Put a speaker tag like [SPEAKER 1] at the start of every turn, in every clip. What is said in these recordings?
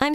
[SPEAKER 1] I'm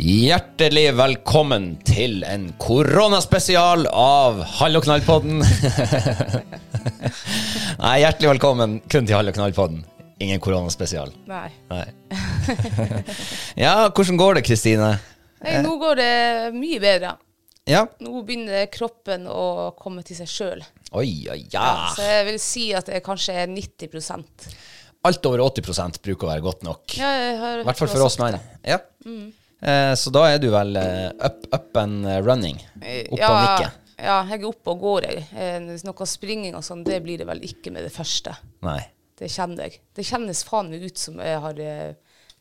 [SPEAKER 2] Hjertelig velkommen til en koronaspesial av Hall og knall-podden. Nei, hjertelig velkommen kun til Hall og knall-podden. Ingen koronaspesial.
[SPEAKER 3] Nei.
[SPEAKER 2] Nei. Ja, hvordan går det, Kristine?
[SPEAKER 3] Nei, nå går det mye bedre.
[SPEAKER 2] Ja.
[SPEAKER 3] Nå begynner kroppen å komme til seg sjøl.
[SPEAKER 2] Oi, oi, ja.
[SPEAKER 3] Så jeg vil si at det kanskje er 90
[SPEAKER 2] Alt over 80 bruker å være godt nok.
[SPEAKER 3] Ja, jeg har
[SPEAKER 2] I hvert fall
[SPEAKER 3] hørt
[SPEAKER 2] for oss menn. Ja.
[SPEAKER 3] Mm.
[SPEAKER 2] Eh, Så da er du vel eh, up, up and running. Opp og nikke.
[SPEAKER 3] Eh, Ja, jeg er oppe og går, jeg. Eh, Noe springing og sånn, det blir det vel ikke med det første.
[SPEAKER 2] Nei.
[SPEAKER 3] Det kjenner jeg. Det kjennes faen meg ut som jeg har eh,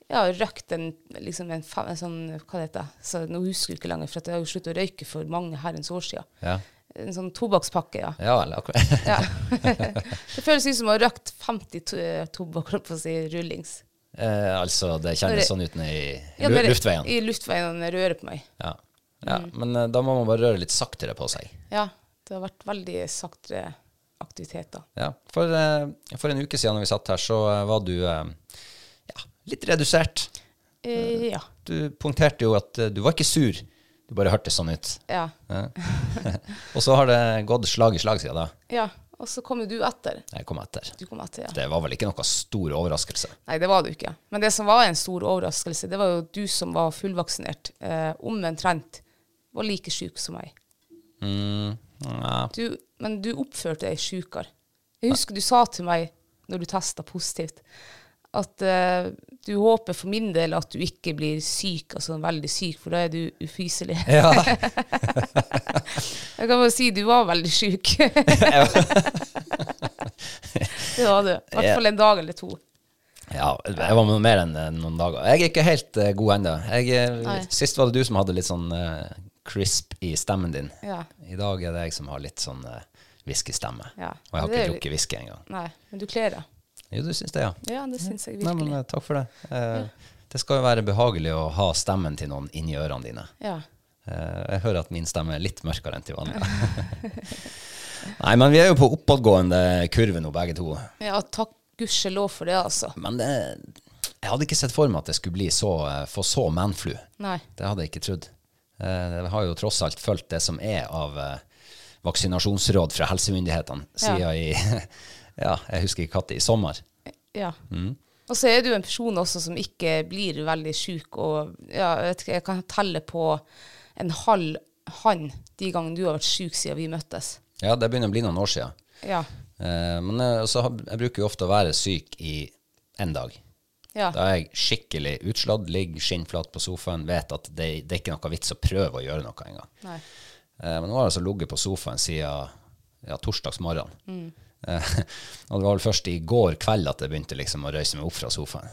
[SPEAKER 3] ja, røykt en, liksom en, fa- en sånn Hva det heter det? Så Nå husker jeg ikke lenger, for at jeg har jo sluttet å røyke for mange herrens år siden.
[SPEAKER 2] Ja.
[SPEAKER 3] En sånn tobakkspakke, ja.
[SPEAKER 2] Ja vel, akkurat.
[SPEAKER 3] Ja. det føles ut som å ha røkt 50 to- tobakk, holdt på å si, rullings.
[SPEAKER 2] Eh, altså, det
[SPEAKER 3] Når
[SPEAKER 2] kjennes
[SPEAKER 3] det-
[SPEAKER 2] sånn ut nede i
[SPEAKER 3] Ja,
[SPEAKER 2] lu-
[SPEAKER 3] når jeg-
[SPEAKER 2] luftveien.
[SPEAKER 3] I luftveien når jeg rører på meg.
[SPEAKER 2] Ja. ja Men eh, da må man bare røre litt saktere på seg.
[SPEAKER 3] Ja, det har vært veldig saktere aktiviteter.
[SPEAKER 2] Ja. For, eh, for en uke siden når vi satt her, så eh, var du eh, ja, litt redusert.
[SPEAKER 3] Eh, ja.
[SPEAKER 2] Du punkterte jo at eh, du var ikke sur, du bare hørtes sånn ut.
[SPEAKER 3] Ja.
[SPEAKER 2] Og så har det gått slag i slag siden da.
[SPEAKER 3] ja. Og så kom jo du etter.
[SPEAKER 2] Jeg kom etter.
[SPEAKER 3] Du kom etter, ja.
[SPEAKER 2] Det var vel ikke noe stor overraskelse.
[SPEAKER 3] Nei, det var det jo ikke. Men det som var en stor overraskelse, det var jo du som var fullvaksinert, eh, omtrent var like syk som meg.
[SPEAKER 2] Ja.
[SPEAKER 3] du, men du oppførte deg sjukere. Jeg husker du sa til meg når du testa positivt, at eh, du håper for min del at du ikke blir syk, altså veldig syk, for da er du ufyselig.
[SPEAKER 2] Ja.
[SPEAKER 3] Jeg kan bare si du var veldig syk. det var du. I hvert fall en dag eller to.
[SPEAKER 2] ja, jeg var med mer enn eh, noen dager. Jeg er ikke helt eh, god ennå.
[SPEAKER 3] Nei.
[SPEAKER 2] Sist var det du som hadde litt sånn eh, crisp i stemmen din.
[SPEAKER 3] Ja.
[SPEAKER 2] I dag er det jeg som har litt sånn eh, whiskystemme.
[SPEAKER 3] Ja.
[SPEAKER 2] Og jeg har
[SPEAKER 3] Det
[SPEAKER 2] ikke
[SPEAKER 3] er litt-
[SPEAKER 2] drukket whisky engang.
[SPEAKER 3] Nei, men du kler deg.
[SPEAKER 2] Jo, du syns det, ja.
[SPEAKER 3] Ja, det syns jeg
[SPEAKER 2] Nei, men
[SPEAKER 3] virkelig.
[SPEAKER 2] eh, takk for det. Eh, Det skal jo være behagelig å ha stemmen til noen inni ørene dine.
[SPEAKER 3] Ja.
[SPEAKER 2] Eh, jeg hører at min stemme er litt mørkere enn til vanlig. Nei, men vi er jo på oppadgående kurve nå, begge to.
[SPEAKER 3] ja, takk gudskjelov for det, altså.
[SPEAKER 2] Men det, jeg hadde ikke sett for meg at det skulle bli så, eh, få så manflu.
[SPEAKER 3] Nei.
[SPEAKER 2] Det hadde jeg ikke trodd. Eh, Jeg har jo tross alt fulgt det som er av eh, vaksinasjonsråd fra helsemyndighetene siden
[SPEAKER 3] Ja.
[SPEAKER 2] i Ja, jeg husker ikke når, i sommer.
[SPEAKER 3] Ja. Og så er du en person også som ikke blir veldig sjuk, og ja, jeg, vet ikke, jeg kan telle på en halv hand de gangene du har vært sjuk siden vi møttes.
[SPEAKER 2] Ja, det begynner å bli noen år siden.
[SPEAKER 3] Ja.
[SPEAKER 2] Eh, Men eh, så har- jeg bruker jo ofte å være syk i én dag,
[SPEAKER 3] Ja.
[SPEAKER 2] Da er jeg skikkelig utslått, ligger skinnflat på sofaen, vet at det, det er ikke noe vits å prøve å gjøre noe engang.
[SPEAKER 3] Nei.
[SPEAKER 2] Eh, Men nå har jeg altså ligget på sofaen siden ja, torsdags morgen.
[SPEAKER 3] Mm.
[SPEAKER 2] Eh, og det var vel først i går kveld at jeg begynte liksom å røyse meg opp fra sofaen.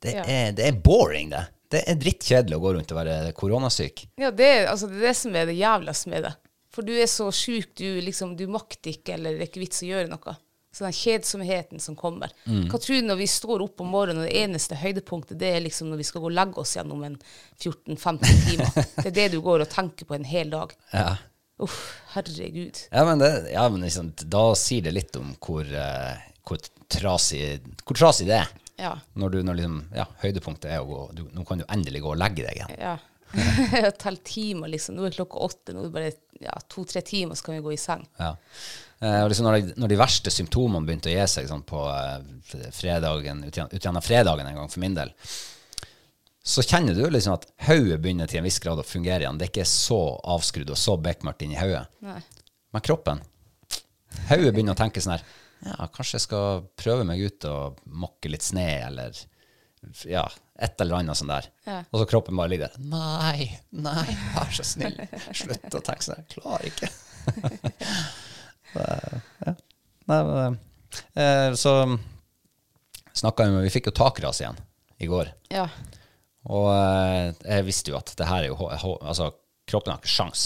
[SPEAKER 2] Det,
[SPEAKER 3] Ja.
[SPEAKER 2] er, det er boring, det. Det er drittkjedelig å gå rundt og være koronasyk.
[SPEAKER 3] Ja, det, er- altså, det er det som er det jævligste med det. For du er så sjuk, du, liksom, du makter ikke, eller det er ikke vits å gjøre noe. Så den kjedsomheten som kommer. Hva tror du når vi står opp om morgenen, og det eneste høydepunktet det er liksom når vi skal gå og legge oss gjennom en 14-15 timer? Det er det du går og tenker på en hel dag.
[SPEAKER 2] Ja.
[SPEAKER 3] Uff, herregud.
[SPEAKER 2] Ja, men, det, ja, men liksom, da sier det litt om hvor, eh, hvor, trasig, hvor trasig det er.
[SPEAKER 3] Ja.
[SPEAKER 2] Når, du, når liksom, ja, høydepunktet er å gå du, Nå kan du endelig gå og legge deg igjen.
[SPEAKER 3] Ja. Jeg teller timer, liksom. Nå er klokka åtte, nå er det bare ja, to-tre timer, så kan vi gå i seng.
[SPEAKER 2] Ja. Eh, og liksom når, de, når de verste symptomene begynte å gi seg sånn på eh, fredagen, ut igjen- ut igjen av fredagen en gang for min del, så kjenner du liksom at hodet begynner til en viss grad å fungere igjen. Det er ikke så avskrudd og så bekmørkt inni hodet.
[SPEAKER 3] Nei.
[SPEAKER 2] Men kroppen Hodet begynner å tenke sånn her Ja, kanskje jeg skal prøve meg ut og mokke litt sne, eller ja, et eller annet sånn der.
[SPEAKER 3] Ja.
[SPEAKER 2] Og så kroppen bare ligger der. Nei, nei, vær så snill. Slutt å tenke sånn. Jeg klarer ikke. Nei, men, eh, så snakka vi med Vi fikk jo takras igjen i går.
[SPEAKER 3] Ja.
[SPEAKER 2] Og eh, jeg visste jo at det her er jo hå- hå- Altså, kroppen har ikke sjans.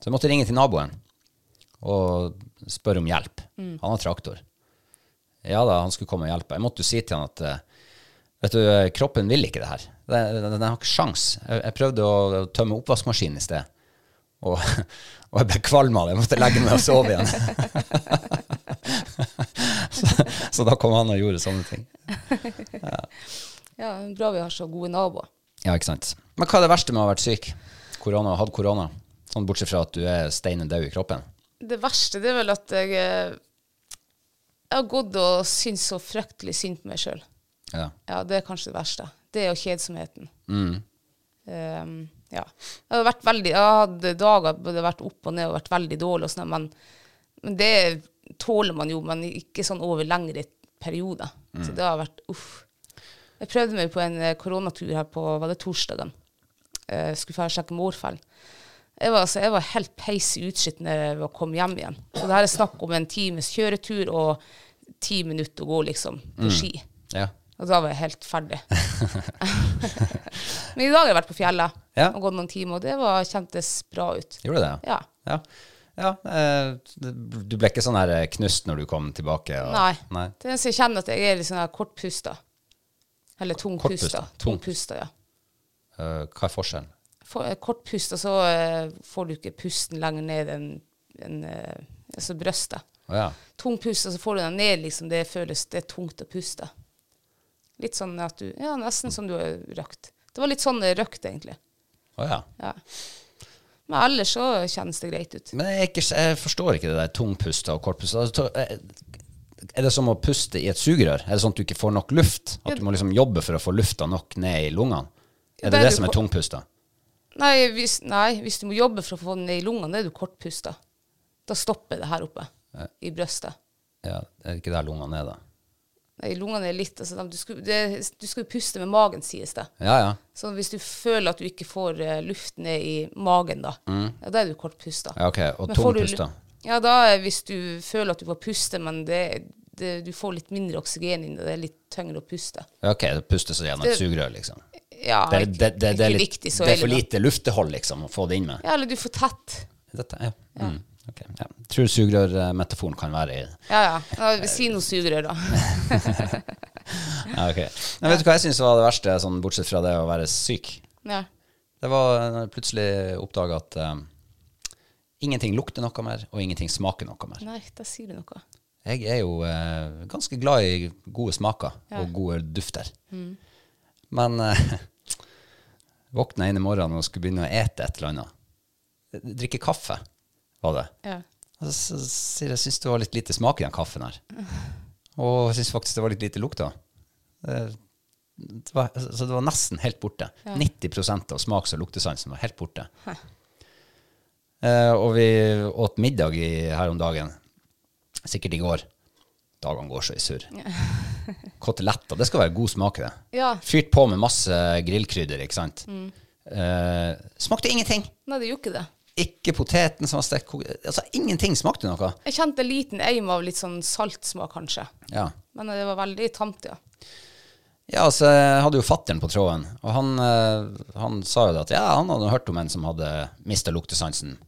[SPEAKER 2] Så jeg måtte ringe til naboen og spørre om hjelp. Han har traktor. Ja da, han skulle komme og hjelpe. Jeg måtte jo si til han at eh, Vet du, eh, kroppen vil ikke det her. Den, den, den har ikke sjans. Jeg, jeg prøvde å tømme oppvaskmaskinen i sted, og, og jeg ble kvalm av det. Jeg måtte legge meg og sove igjen. så, så da kom han og gjorde sånne ting.
[SPEAKER 3] ja, bra vi har så gode naboer.
[SPEAKER 2] Ja, ikke sant. Men hva er det verste med å ha vært syk? Korona, hatt korona? Sånn bortsett fra at du er steinen død i kroppen.
[SPEAKER 3] Det verste det er vel at jeg eh, Jeg har gått og syntes så fryktelig synd på meg sjøl.
[SPEAKER 2] Ja.
[SPEAKER 3] Ja, det er kanskje det verste. Det og kjedsomheten. Ehm, ja. Jeg har vært veldig Jeg har hatt dager hvor det har vært opp og ned og vært veldig dårlig og sånn, men, men det tåler man jo, men ikke sånn over lengre perioder. Så det har vært uff. Jeg prøvde meg på en eh, koronatur her på var det torsdagen. Eh, skulle få sjekke morfaren. Jeg var, altså, jeg var helt peis utslitt når jeg var- kom hjem igjen. Og det her er snakk om en times kjøretur og ti minutter å gå, liksom, på ski.
[SPEAKER 2] Ja.
[SPEAKER 3] Og da var jeg helt ferdig. Men i dag har jeg vært på fjellet
[SPEAKER 2] Ja.
[SPEAKER 3] og gått noen timer, og det var, kjentes bra ut.
[SPEAKER 2] Gjorde det?
[SPEAKER 3] Ja.
[SPEAKER 2] Ja. ja. eh, Du ble ikke sånn her knust når du kom tilbake? Og,
[SPEAKER 3] Nei. Det eneste jeg kjenner, at jeg er litt sånn her kortpusta. Eller tungpusta.
[SPEAKER 2] kortpusta. Tung.
[SPEAKER 3] Tungpusta, ja.
[SPEAKER 2] Eh, hva er forskjellen?
[SPEAKER 3] For, eh, kortpusta, så eh, får du ikke pusten lenger ned enn enn, eh, altså brøstet.
[SPEAKER 2] Å ja.
[SPEAKER 3] Tungpusta, så får du den ned, liksom. Det føles det er tungt å puste. Litt sånn at du Ja, nesten som du har røkt. Det var litt sånn eh, røkt, egentlig.
[SPEAKER 2] Å ja.
[SPEAKER 3] Ja. Men ellers så kjennes det greit ut.
[SPEAKER 2] Men jeg, er ikke, jeg forstår ikke det der tungpusta og kortpusta. Altså, to- eh, Er det som å puste i et sugerør? Er det sånn at du ikke får nok luft? At du må liksom jobbe for å få lufta nok ned i lungene?
[SPEAKER 3] Ja,
[SPEAKER 2] Er det
[SPEAKER 3] det er
[SPEAKER 2] det
[SPEAKER 3] du
[SPEAKER 2] som er
[SPEAKER 3] ko-
[SPEAKER 2] tungpusta?
[SPEAKER 3] Nei hvis, nei, hvis du må jobbe for å få den ned i lungene, da er du kortpusta. Da stopper det her oppe i brøstet.
[SPEAKER 2] Ja, er det ikke der lungene er, da?
[SPEAKER 3] Nei, lungene er litt altså, de- Du skulle det- du skulle puste med magen, sies det.
[SPEAKER 2] Ja, ja.
[SPEAKER 3] Så hvis du føler at du ikke får eh, luft ned i magen, da, ja, da er du kortpusta.
[SPEAKER 2] Mm. Ja, ok. Og
[SPEAKER 3] Men får du
[SPEAKER 2] tungpusta?
[SPEAKER 3] lu- Ja, da er hvis du føler at du får puste, men det, det, du får litt mindre oksygen inn, og det er litt tyngre å puste.
[SPEAKER 2] Ja, ok, det pustes gjennom et
[SPEAKER 3] Det-
[SPEAKER 2] sugerør, liksom.
[SPEAKER 3] Ja,
[SPEAKER 2] Det, er-
[SPEAKER 3] ikke-
[SPEAKER 2] det, det, det,
[SPEAKER 3] ikke
[SPEAKER 2] er litt,
[SPEAKER 3] viktig, så
[SPEAKER 2] det er for
[SPEAKER 3] veldig, da.
[SPEAKER 2] lite luftehold, liksom, å få det inn med.
[SPEAKER 3] Ja, eller du får tett.
[SPEAKER 2] Dette, ja. Mm. ok, ja. Tror sugerørmetaforen kan være i
[SPEAKER 3] Ja, ja. ja si noe sugerør, da.
[SPEAKER 2] Ja, ok. Men vet du hva jeg syns var det verste, sånn, bortsett fra det å være syk?
[SPEAKER 3] Ja.
[SPEAKER 2] Det var når jeg plutselig oppdaga at eh, ingenting lukter noe mer, og ingenting smaker noe mer.
[SPEAKER 3] Nei, da sier du noe.
[SPEAKER 2] Jeg er jo eh, ganske glad i gode smaker og gode dufter. Men eh, våkna inn i morgenen og skulle begynne å ete et eller annet. Drikke kaffe, var det.
[SPEAKER 3] Ja.
[SPEAKER 2] Og så sier jeg syns det var litt lite smak i den kaffen her. Og jeg syns faktisk det var litt lite lukt òg. Så det var nesten helt borte. 90 av smaks- og luktesansen var helt borte. Eh, og vi åt middag i, her om dagen, sikkert i går. Dagene går så i surr. Koteletter. Det skal være god smak i det.
[SPEAKER 3] Ja.
[SPEAKER 2] Fyrt på med masse grillkrydder, ikke sant. Eh, smakte ingenting.
[SPEAKER 3] Nei, det gjorde ikke det.
[SPEAKER 2] Ikke poteten som var stekt ko- Altså, ingenting smakte noe.
[SPEAKER 3] Jeg kjente en liten eim av litt sånn saltsmak, kanskje.
[SPEAKER 2] Ja.
[SPEAKER 3] Men eh, det var veldig tamt, ja.
[SPEAKER 2] Ja, altså, jeg hadde jo fatteren på tråden, og han, eh, han sa jo det at ja, han hadde hørt om en som hadde mista luktesansen.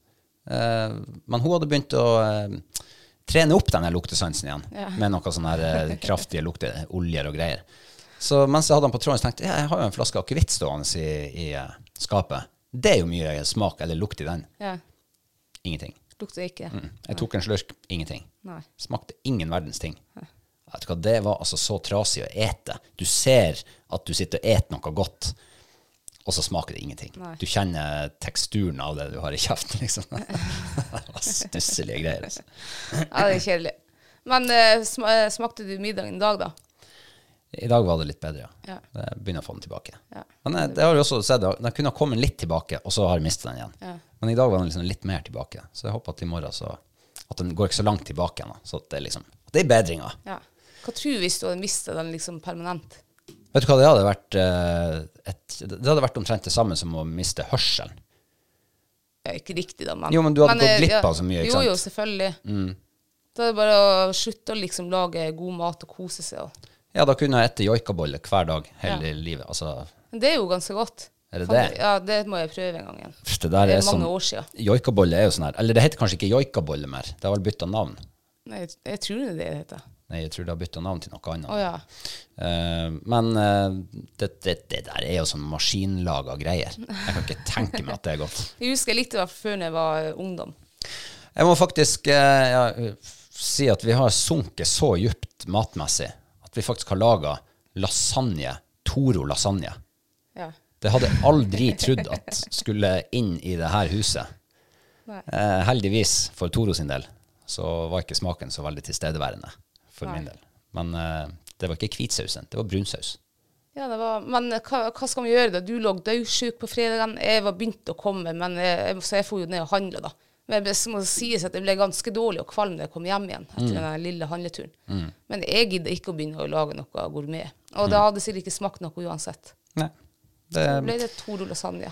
[SPEAKER 2] Eh, men hun hadde begynt å eh, trene opp denne luktesansen igjen med noe sånne her, eh, kraftige lukteoljer og greier. Så mens jeg hadde han på tråden, så tenkte jeg ja, jeg har jo en flaske akevitt stående i, i eh, skapet. Det er jo mye smak eller lukt i den.
[SPEAKER 3] ja.
[SPEAKER 2] Ingenting.
[SPEAKER 3] Lukta ikke.
[SPEAKER 2] Jeg tok en slurk, ingenting.
[SPEAKER 3] Nei.
[SPEAKER 2] Smakte ingen verdens ting. Vet du hva, det var altså så trasig å ete. Du ser at du sitter og eter noe godt, og så smaker det ingenting. Du kjenner teksturen av det du har i kjeften, liksom. det var stusselige greier. Altså.
[SPEAKER 3] Ja, det er kjedelig. Men eh, sma- eh, smakte du middagen i dag, da?
[SPEAKER 2] I dag var det litt bedre, ja.
[SPEAKER 3] Ja.
[SPEAKER 2] Jeg begynner å få den tilbake.
[SPEAKER 3] Ja.
[SPEAKER 2] Men jeg, det har jeg også sett, da. den kunne ha kommet litt tilbake, og så har jeg mistet den igjen. Men i dag var den liksom litt mer tilbake, så jeg håper at i morgen så, at den går ikke så langt tilbake igjen, da. så at det er liksom, det er bedringer.
[SPEAKER 3] Ja. Hva tror du hvis du hadde mista den liksom permanent?
[SPEAKER 2] Vet du hva, det hadde vært eh, et, Det hadde vært omtrent det samme som å miste hørselen.
[SPEAKER 3] Ja, ikke riktig, da, men
[SPEAKER 2] Jo, men du hadde gått
[SPEAKER 3] eh,
[SPEAKER 2] glipp
[SPEAKER 3] ja.
[SPEAKER 2] av så mye, ikke sant? Mm.
[SPEAKER 3] Jo, jo, selvfølgelig. Da er det bare å slutte å liksom lage god mat og kose seg. Og.
[SPEAKER 2] Ja, da kunne jeg ete joikaboller hver dag hele
[SPEAKER 3] Ja.
[SPEAKER 2] livet. Altså,
[SPEAKER 3] Men det er jo ganske godt.
[SPEAKER 2] Er det
[SPEAKER 3] Fan,
[SPEAKER 2] det?
[SPEAKER 3] Ja, det må jeg prøve en gang igjen.
[SPEAKER 2] pff, det der
[SPEAKER 3] Det
[SPEAKER 2] er, sånn.
[SPEAKER 3] er mange
[SPEAKER 2] som
[SPEAKER 3] år siden.
[SPEAKER 2] Joikabolle er jo sånn her Eller det heter kanskje ikke joikabolle mer. Det har vel bytta navn.
[SPEAKER 3] Nei, jeg, jeg tror det er det det heter.
[SPEAKER 2] Nei, jeg tror det har bytta navn til noe annet.
[SPEAKER 3] Å ja.
[SPEAKER 2] Eh, men eh, det, det, det der er jo sånn maskinlaga greier. Jeg kan ikke tenke meg at det er godt.
[SPEAKER 3] Jeg husker jeg likte det før når jeg var ungdom.
[SPEAKER 2] Jeg må faktisk eh, ja, si at vi har sunket så djupt matmessig at vi faktisk har laga lasagne, Toro lasagne.
[SPEAKER 3] Ja.
[SPEAKER 2] Det hadde jeg aldri trodd at skulle inn i det her huset.
[SPEAKER 3] Nei.
[SPEAKER 2] Eh, heldigvis for Toro sin del så var ikke smaken så veldig tilstedeværende for min del. Men eh, det var ikke hvitsausen, det var brunsaus.
[SPEAKER 3] Ja, det var, men hva, hva skal vi gjøre da? Du lå dødsjuk på fredagen. Jeg var begynt å komme, men jeg, så jeg for jo ned og handla, da. Men det må sies at jeg ble ganske dårlig og kvalm da jeg kom hjem igjen etter
[SPEAKER 2] Mm.
[SPEAKER 3] den lille handleturen. Men jeg gidda ikke å begynne å lage noe gourmet. Og det hadde sikkert ikke smakt noe uansett.
[SPEAKER 2] Nei.
[SPEAKER 3] Så
[SPEAKER 2] Mm. Det,
[SPEAKER 3] ble det Toro lasagne.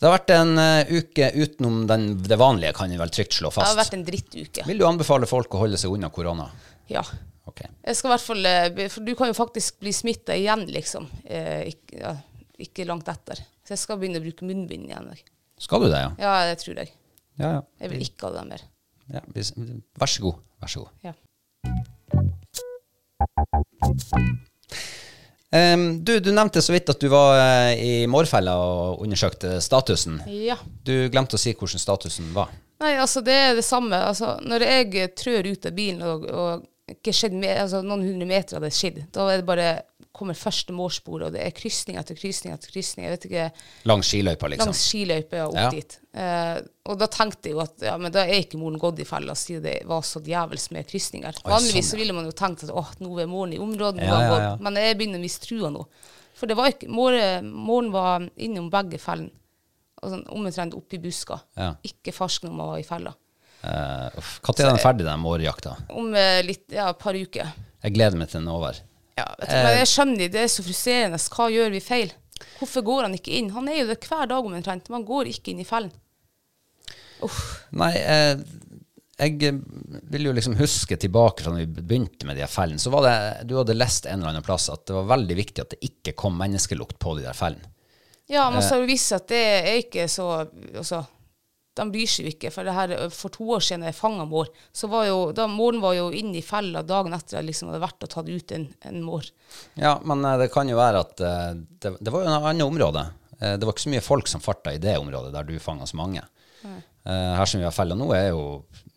[SPEAKER 2] det har vært en eh, uke utenom den, det vanlige, kan vi vel trygt slå
[SPEAKER 3] Det har
[SPEAKER 2] fast.
[SPEAKER 3] vært en drittuke.
[SPEAKER 2] Vil du anbefale folk å holde seg unna korona?
[SPEAKER 3] Ja.
[SPEAKER 2] Ok.
[SPEAKER 3] Jeg skal i hvert fall eh, be- For du kan jo faktisk bli smitta igjen, liksom. Eh, ikke, ja, ikke langt etter. Så jeg skal begynne å bruke munnbind igjen. jeg.
[SPEAKER 2] Skal du det, ja?
[SPEAKER 3] Ja, det tror jeg.
[SPEAKER 2] Ja, ja.
[SPEAKER 3] Jeg vil ikke ha det mer.
[SPEAKER 2] ja hvis- vær så god. Vær så god.
[SPEAKER 3] Ja.
[SPEAKER 2] Em, du, du nevnte så vidt at du var eh, i Mårfella og undersøkte statusen.
[SPEAKER 3] ja.
[SPEAKER 2] Du glemte å si hvordan statusen var.
[SPEAKER 3] Nei, altså, det er det samme. Altså, når jeg eh, trør ut av bilen og, og ikke skjedd mer, altså, noen hundre meter hadde skjedd, da er det bare kommer første målsporet, og det er krysning etter krysning etter krysning. Jeg vet ikke
[SPEAKER 2] Langs skiløypa, liksom.
[SPEAKER 3] Langs skiløypa og opp
[SPEAKER 2] Ja.
[SPEAKER 3] dit. Eh, og da tenkte jeg jo at ja, men da er ikke moren gått i fella, siden det var så djevels med krysninger. Vanligvis så ville man jo tenkt at åh, nå er moren i området, nå
[SPEAKER 2] sånn, Ja,
[SPEAKER 3] har
[SPEAKER 2] ja,
[SPEAKER 3] den
[SPEAKER 2] ja.
[SPEAKER 3] gått. men jeg begynner å mistrua nå. For det var ikke, moren, moren var innom begge fellene, og sånn, omtrent oppi buska.
[SPEAKER 2] Ja.
[SPEAKER 3] Ikke fersk når man var i fella.
[SPEAKER 2] Eh, uff, Når er den ferdig, den mårjakta?
[SPEAKER 3] Om eh, litt, ja, et par uker.
[SPEAKER 2] Jeg gleder meg til den er over.
[SPEAKER 3] Ja, vet du,
[SPEAKER 2] eh,
[SPEAKER 3] men jeg skjønner det, det er så frustrerende. Hva gjør vi feil? Hvorfor går han ikke inn? Han er jo det hver dag omtrent, man går ikke inn i fellen.
[SPEAKER 2] Nei, eh, jeg eh, vil jo liksom huske tilbake fra da vi begynte med de her fellene. Så var det, du hadde lest en eller annen plass at det var veldig viktig at det ikke kom menneskelukt på de der fellene.
[SPEAKER 3] Ja, man skal jo vise at det er ikke så altså, De bryr seg jo ikke. For det her, for to år siden jeg fanga mår, så var jo da måren var jo inne i fella dagen etter jeg liksom hadde vært og tatt ut en, en mår.
[SPEAKER 2] Ja, men eh, det kan jo være at eh, det, det var jo et annet område. Eh, Det var ikke så mye folk som farta i det området der du fanga så mange. Eh, Her som vi har fella nå, er jo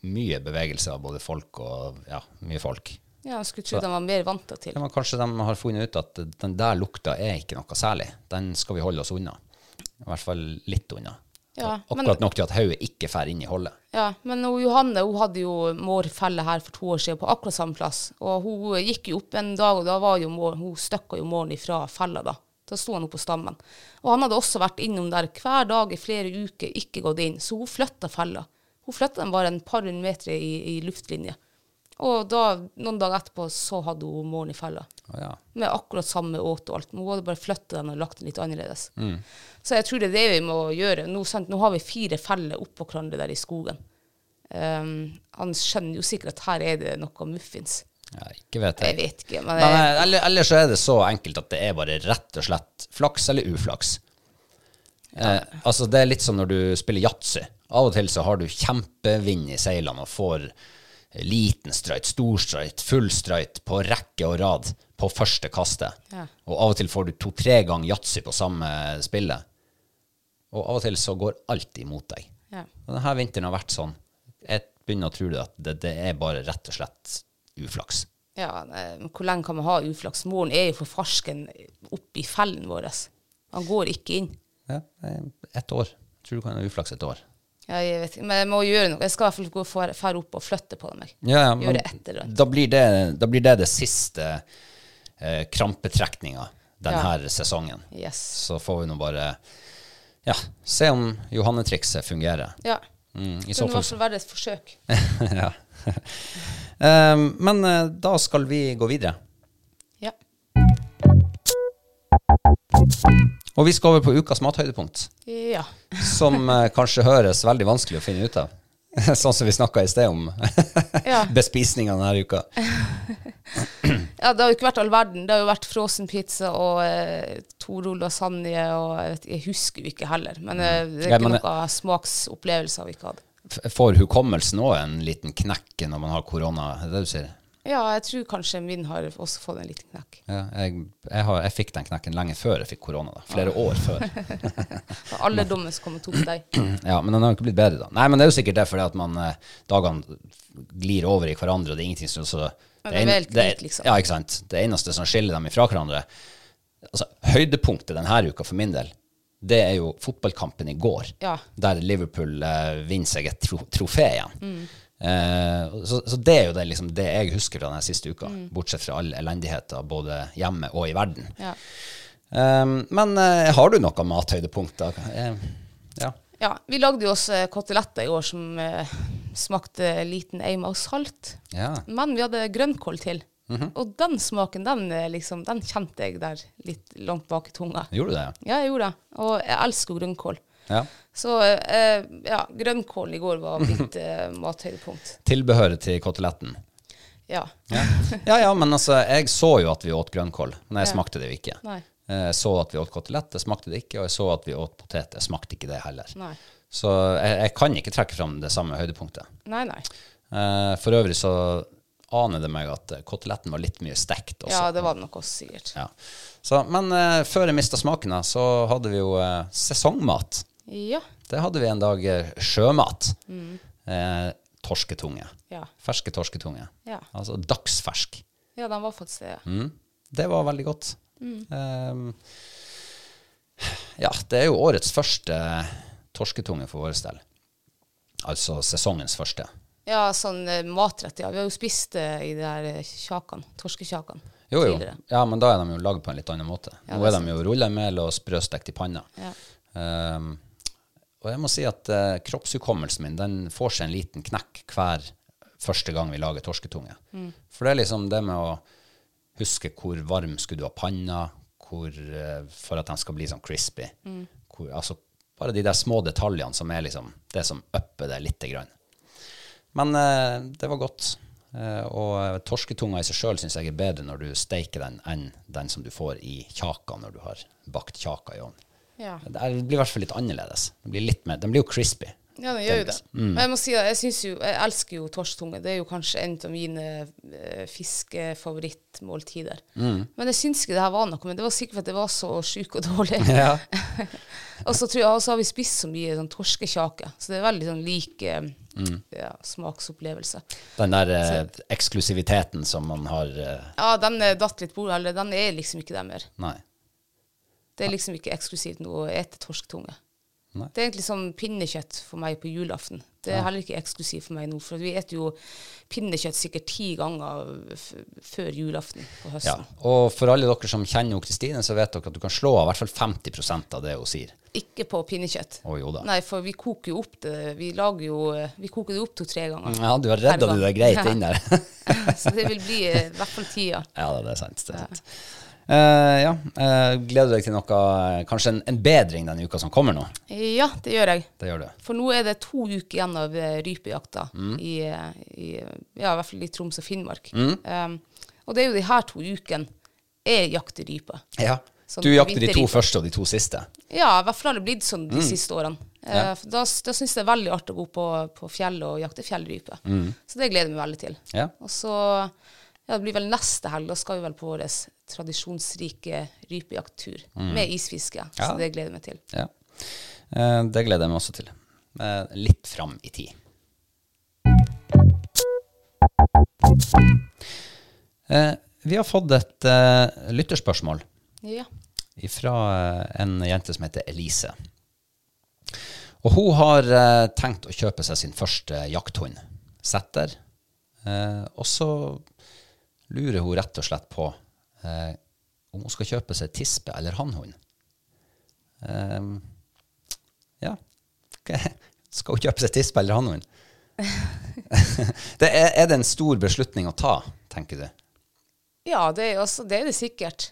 [SPEAKER 2] mye bevegelse av både folk og ja, mye folk.
[SPEAKER 3] Ja, jeg skulle tro de var mer vant til.
[SPEAKER 2] Ja, men kanskje de har funnet ut at den der lukta er ikke noe særlig. Den skal vi holde oss unna. I hvert fall litt unna.
[SPEAKER 3] Ja, men-
[SPEAKER 2] Akkurat nok til at hodet ikke får inn i hullet.
[SPEAKER 3] Ja, men hun, Johanne hun hadde jo mårfelle her for to år siden på akkurat samme plass. Og hun gikk jo opp en dag, og da var jo mår, hun støkka jo måren ifra fella da. Da sto han oppe på stammen. Og han hadde også vært innom der hver dag i flere uker, ikke gått inn. Så hun flytta fella. Hun flytta den bare en par hundre meter i, i luftlinje. Og da, noen dager etterpå så hadde hun morgen i fella.
[SPEAKER 2] Å ja.
[SPEAKER 3] Med akkurat samme åt og alt. Men hun hadde bare flyttet den og lagt den litt annerledes.
[SPEAKER 2] Mm.
[SPEAKER 3] Så jeg tror det er det vi må gjøre. Nå, sant? Nå har vi fire feller oppå hverandre der i skogen. Ehm, han skjønner jo sikkert at her er det noe muffins.
[SPEAKER 2] ja, ikke vet
[SPEAKER 3] Jeg
[SPEAKER 2] jeg.
[SPEAKER 3] vet ikke, men
[SPEAKER 2] Men
[SPEAKER 3] jeg,
[SPEAKER 2] eh, eller, ellers så er det så enkelt at det er bare rett og slett flaks eller uflaks. Eh, altså Det er litt som når du spiller yatzy. Av og til så har du kjempevind i seilene og får liten strøyt, stor strøyt, full strøyt på rekke og rad på første kastet.
[SPEAKER 3] Ja.
[SPEAKER 2] Og av og til får du to-tre ganger yatzy på samme spillet. Og av og til så går alt imot deg.
[SPEAKER 3] Ja.
[SPEAKER 2] Og denne vinteren har vært sånn. Jeg begynner å tro det at det, det er bare rett og slett uflaks.
[SPEAKER 3] ja, nei, men eh, hvor lenge kan man ha uflaks? Moren er jo for farsken oppi fellen vår. Han går ikke inn.
[SPEAKER 2] Ja, ett år. Jeg tror du kan ha uflaks et år.
[SPEAKER 3] Ja, jeg vet ikke, men jeg må gjøre noe. Jeg skal i hvert fall gå for- fære opp og flytte på meg. gjøre et eller annet.
[SPEAKER 2] da, blir det, da blir det det siste eh, krampetrekninga denne
[SPEAKER 3] Ja.
[SPEAKER 2] sesongen.
[SPEAKER 3] Yes.
[SPEAKER 2] Så får vi nå bare ja, se om Johanne-trikset fungerer.
[SPEAKER 3] Ja.
[SPEAKER 2] Mm, I så fall.
[SPEAKER 3] Kunne i hvert fall være et forsøk.
[SPEAKER 2] ja. Eh, men eh, da skal vi gå videre.
[SPEAKER 3] Ja.
[SPEAKER 2] Og vi skal over på ukas mathøydepunkt,
[SPEAKER 3] ja.
[SPEAKER 2] som eh, kanskje høres veldig vanskelig å finne ut av. sånn som vi snakka i sted om
[SPEAKER 3] Ja.
[SPEAKER 2] bespisninga denne uka.
[SPEAKER 3] Ja, det har jo ikke vært all verden. Det har jo vært frossen pizza og eh, Torol lasagne og jeg, vet, jeg husker jo ikke heller. Men eh, det er
[SPEAKER 2] Ja,
[SPEAKER 3] ikke
[SPEAKER 2] men-
[SPEAKER 3] noe smaksopplevelser vi ikke hadde.
[SPEAKER 2] F- Får hukommelsen òg en liten knekk når man har korona? Er det det du sier?
[SPEAKER 3] Ja, jeg tror kanskje min har også fått en liten knekk.
[SPEAKER 2] Ja, jeg, jeg, har, jeg fikk den knekken lenge før jeg fikk korona. da. Flere år før.
[SPEAKER 3] For alle dommen som kommer tok deg.
[SPEAKER 2] Ja, Men den har jo ikke blitt bedre, da. Nei, men det er jo sikkert det fordi at man, eh, dagene glir over i hverandre, og det er ingenting som så,
[SPEAKER 3] Ja, det er
[SPEAKER 2] en-
[SPEAKER 3] helt likt, liksom.
[SPEAKER 2] Ja, ikke sant. Det eneste som skiller dem ifra hverandre altså, Høydepunktet denne uka for min del, det er jo fotballkampen i går,
[SPEAKER 3] Ja.
[SPEAKER 2] der Liverpool eh, vinner seg et tro trofé igjen.
[SPEAKER 3] Mm.
[SPEAKER 2] Eh, så, så det er jo det, liksom, det jeg husker fra denne siste uka,
[SPEAKER 3] Mm.
[SPEAKER 2] bortsett fra all elendigheten både hjemme og i verden.
[SPEAKER 3] Ja.
[SPEAKER 2] Um, men eh, har du noe mathøydepunkter? Eh, ja.
[SPEAKER 3] ja. Vi lagde jo oss eh, koteletter i år som eh, smakte liten eim av salt.
[SPEAKER 2] ja.
[SPEAKER 3] Men vi hadde grønnkål til. Og den smaken, den, eh, liksom, den kjente jeg der litt langt bak i tunga.
[SPEAKER 2] Gjorde du det?
[SPEAKER 3] Ja, jeg gjorde det. Og jeg elsker jo grønnkål.
[SPEAKER 2] Ja.
[SPEAKER 3] Så eh, ja, grønnkålen i går var mitt eh, mathøydepunkt.
[SPEAKER 2] Tilbehøret til koteletten.
[SPEAKER 3] Ja.
[SPEAKER 2] Ja. ja, men altså, jeg så jo at vi åt grønnkål, men jeg
[SPEAKER 3] Ja.
[SPEAKER 2] smakte det jo ikke.
[SPEAKER 3] Nei.
[SPEAKER 2] Eh, Jeg så at vi åt kotelett, jeg smakte det ikke, og jeg så at vi åt potet, jeg smakte ikke det heller.
[SPEAKER 3] Nei.
[SPEAKER 2] Så jeg, jeg kan ikke trekke fram det samme høydepunktet.
[SPEAKER 3] Nei, nei.
[SPEAKER 2] Eh, for øvrig så aner det meg at eh, koteletten var litt mye stekt også.
[SPEAKER 3] Ja, det var det nok også sikkert.
[SPEAKER 2] Ja. Så, men eh, før jeg mista smaken, da, så hadde vi jo eh, sesongmat.
[SPEAKER 3] Ja.
[SPEAKER 2] Det hadde vi en dag eh, sjømat.
[SPEAKER 3] Mm.
[SPEAKER 2] Eh, torsketunge.
[SPEAKER 3] Ja.
[SPEAKER 2] Ferske torsketunge.
[SPEAKER 3] Ja.
[SPEAKER 2] Altså dagsfersk.
[SPEAKER 3] Ja, den var faktisk det. Ja.
[SPEAKER 2] Det var veldig godt. Ehm, ja, det er jo årets første eh, torsketunge for vår del. Altså sesongens første.
[SPEAKER 3] ja, sånn eh, matrett, ja. Vi har jo spist eh, i de der kjakan, torskekjakan.
[SPEAKER 2] Jo, jo.
[SPEAKER 3] tidligere.
[SPEAKER 2] Ja, men da er de jo lagd på en litt annen måte.
[SPEAKER 3] Ja,
[SPEAKER 2] Nå
[SPEAKER 3] det
[SPEAKER 2] er
[SPEAKER 3] er
[SPEAKER 2] de jo rullemel og sprøstekt i panna.
[SPEAKER 3] Ja.
[SPEAKER 2] Ehm, og jeg må si at eh, kroppshukommelsen min den får seg en liten knekk hver første gang vi lager torsketunge.
[SPEAKER 3] Mm.
[SPEAKER 2] For det er liksom det med å huske hvor varm skulle du ha panna, hvor, eh, for at den skal bli sånn crispy.
[SPEAKER 3] Mm.
[SPEAKER 2] Hvor, altså, bare de der små detaljene som er liksom det som upper det lite grann. Men eh, det var godt. Eh, og eh, torsketunga i seg sjøl syns jeg er bedre når du steiker den, enn den som du får i kjaka når du har bakt kjaka i ovnen.
[SPEAKER 3] Ja.
[SPEAKER 2] Det er- det blir i hvert fall litt annerledes. Den blir, litt mer, den blir jo crispy.
[SPEAKER 3] Ja, den gjør jo det. Men jeg må si at jeg, synes jo, jeg elsker jo torsketunge. Det er jo kanskje en av mine eh, fiskefavorittmåltider. Men jeg syns ikke det her var noe. Men det var sikkert fordi jeg var så sjuk og dårlig. og så tror jeg, og så har vi spist så mye sånn torskekjake, så det er veldig sånn lik eh,
[SPEAKER 2] Mm.
[SPEAKER 3] ja, smaksopplevelse.
[SPEAKER 2] Den der eh, eksklusiviteten som man har eh,
[SPEAKER 3] Ja, den eh, datt litt bort, eller den er liksom ikke der mer.
[SPEAKER 2] Nei.
[SPEAKER 3] Det er liksom ikke eksklusivt noe å ete torsketunge. Det er egentlig som pinnekjøtt for meg på julaften. Det er heller ikke eksklusivt for meg nå, for vi spiser jo pinnekjøtt sikkert ti ganger f før julaften på
[SPEAKER 2] Ja.
[SPEAKER 3] høsten.
[SPEAKER 2] Og for alle dere som kjenner jo Kristine, så vet dere at du kan slå av i hvert fall 50 av det hun sier.
[SPEAKER 3] Ikke på pinnekjøtt.
[SPEAKER 2] Å, jo da.
[SPEAKER 3] Nei, for vi koker jo opp det Vi lager jo eh, Vi koker det opp to-tre ganger.
[SPEAKER 2] Ja, du har redda du deg greit inn der.
[SPEAKER 3] Så det vil bli eh, i hvert fall tida.
[SPEAKER 2] ja, det er sant. Det er sant. Eh, ja, eh, gleder du deg til noe, eh, kanskje en, en bedring den uka som kommer nå?
[SPEAKER 3] Ja, det gjør jeg.
[SPEAKER 2] Det gjør du.
[SPEAKER 3] For nå er det to uker igjen av eh, rypejakta i, eh, i, eh, ja, i hvert fall i Troms og Finnmark. Um, og det er jo de her to ukene jeg jakter rype.
[SPEAKER 2] Ja.
[SPEAKER 3] Sånn
[SPEAKER 2] Du jakter de to
[SPEAKER 3] vinterripe.
[SPEAKER 2] første og de to siste.
[SPEAKER 3] Ja, i hvert fall har det blitt sånn de siste årene. Eh, for Da, da syns jeg det er veldig artig å gå på, på fjellet og jakte fjellrype. Så det gleder jeg meg veldig til.
[SPEAKER 2] Ja.
[SPEAKER 3] Og så ja, det blir vel neste helg, da skal vi vel på vår tradisjonsrike rypejakttur med isfiske. Så
[SPEAKER 2] Ja.
[SPEAKER 3] det gleder jeg meg til.
[SPEAKER 2] Ja. Eh, det gleder jeg meg også til. Eh, litt fram i tid. Eh, vi har fått et eh, lytterspørsmål
[SPEAKER 3] Ja.
[SPEAKER 2] fra eh, en jente som heter Elise. Og hun har eh, tenkt å kjøpe seg sin første jakthund, setter. Eh, og så lurer hun rett og slett på eh, om hun skal kjøpe seg tispe eller hannhund. Eh, ja. Ok. Skal hun kjøpe seg tispe eller hannhund? det er, er det en stor beslutning å ta, tenker du?
[SPEAKER 3] Ja, det er, altså, det, er det sikkert.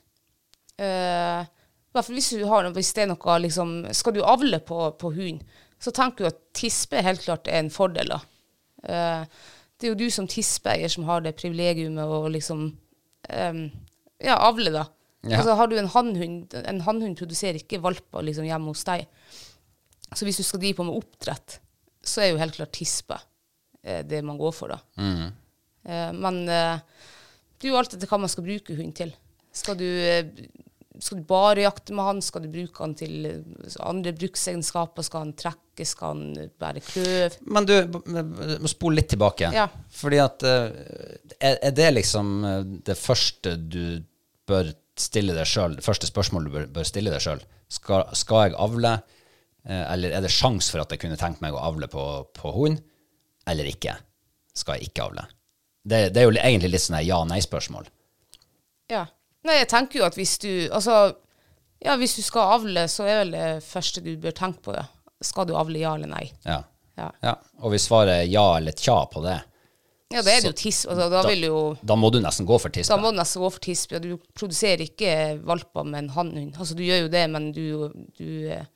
[SPEAKER 3] Eh, I hvert fall hvis du har noe, hvis det er noe liksom, Skal du avle på, på hund, så tenker du at tispe helt klart er en fordel. da. Eh, det er jo du som tispeeier som har det privilegiumet å liksom em, ja, avle, da.
[SPEAKER 2] Ja.
[SPEAKER 3] Altså, har du en hannhund En hannhund produserer ikke valper liksom, hjemme hos deg. Så hvis du skal drive på med oppdrett, så er jo helt klart tispe eh, det man går for, da. Eh, men eh, det er jo alt etter hva man skal bruke hund til. Skal du, eh, skal du bare jakte med han? Skal du bruke han til eh, andre bruksegenskaper? Skal han trekke? Skal han eh, bære kløv?
[SPEAKER 2] Men du, b- b- må spole litt tilbake.
[SPEAKER 3] Ja.
[SPEAKER 2] Fordi at eh, Er er det liksom eh, det første du bør stille deg sjøl, det første spørsmålet du bør, bør stille deg sjøl? Skal, skal jeg avle, eh, eller er det sjanse for at jeg kunne tenkt meg å avle på, på hund, eller ikke? Skal jeg ikke avle? Det, det er jo li- egentlig litt sånn her ja-nei-spørsmål.
[SPEAKER 3] Ja. Nei, jeg tenker jo at hvis du Altså, ja, hvis du skal avle, så er vel det første du bør tenke på det. Skal du avle, ja eller nei?
[SPEAKER 2] Ja.
[SPEAKER 3] Ja,
[SPEAKER 2] ja. Og hvis svaret er ja eller tja på det,
[SPEAKER 3] ja da er det jo tiss. Altså, da vil jo
[SPEAKER 2] da må du nesten gå for tispe.
[SPEAKER 3] Da må du nesten gå for tispe. og Du produserer ikke valper med en hannhund. Altså, du gjør jo det, men du, du, eh,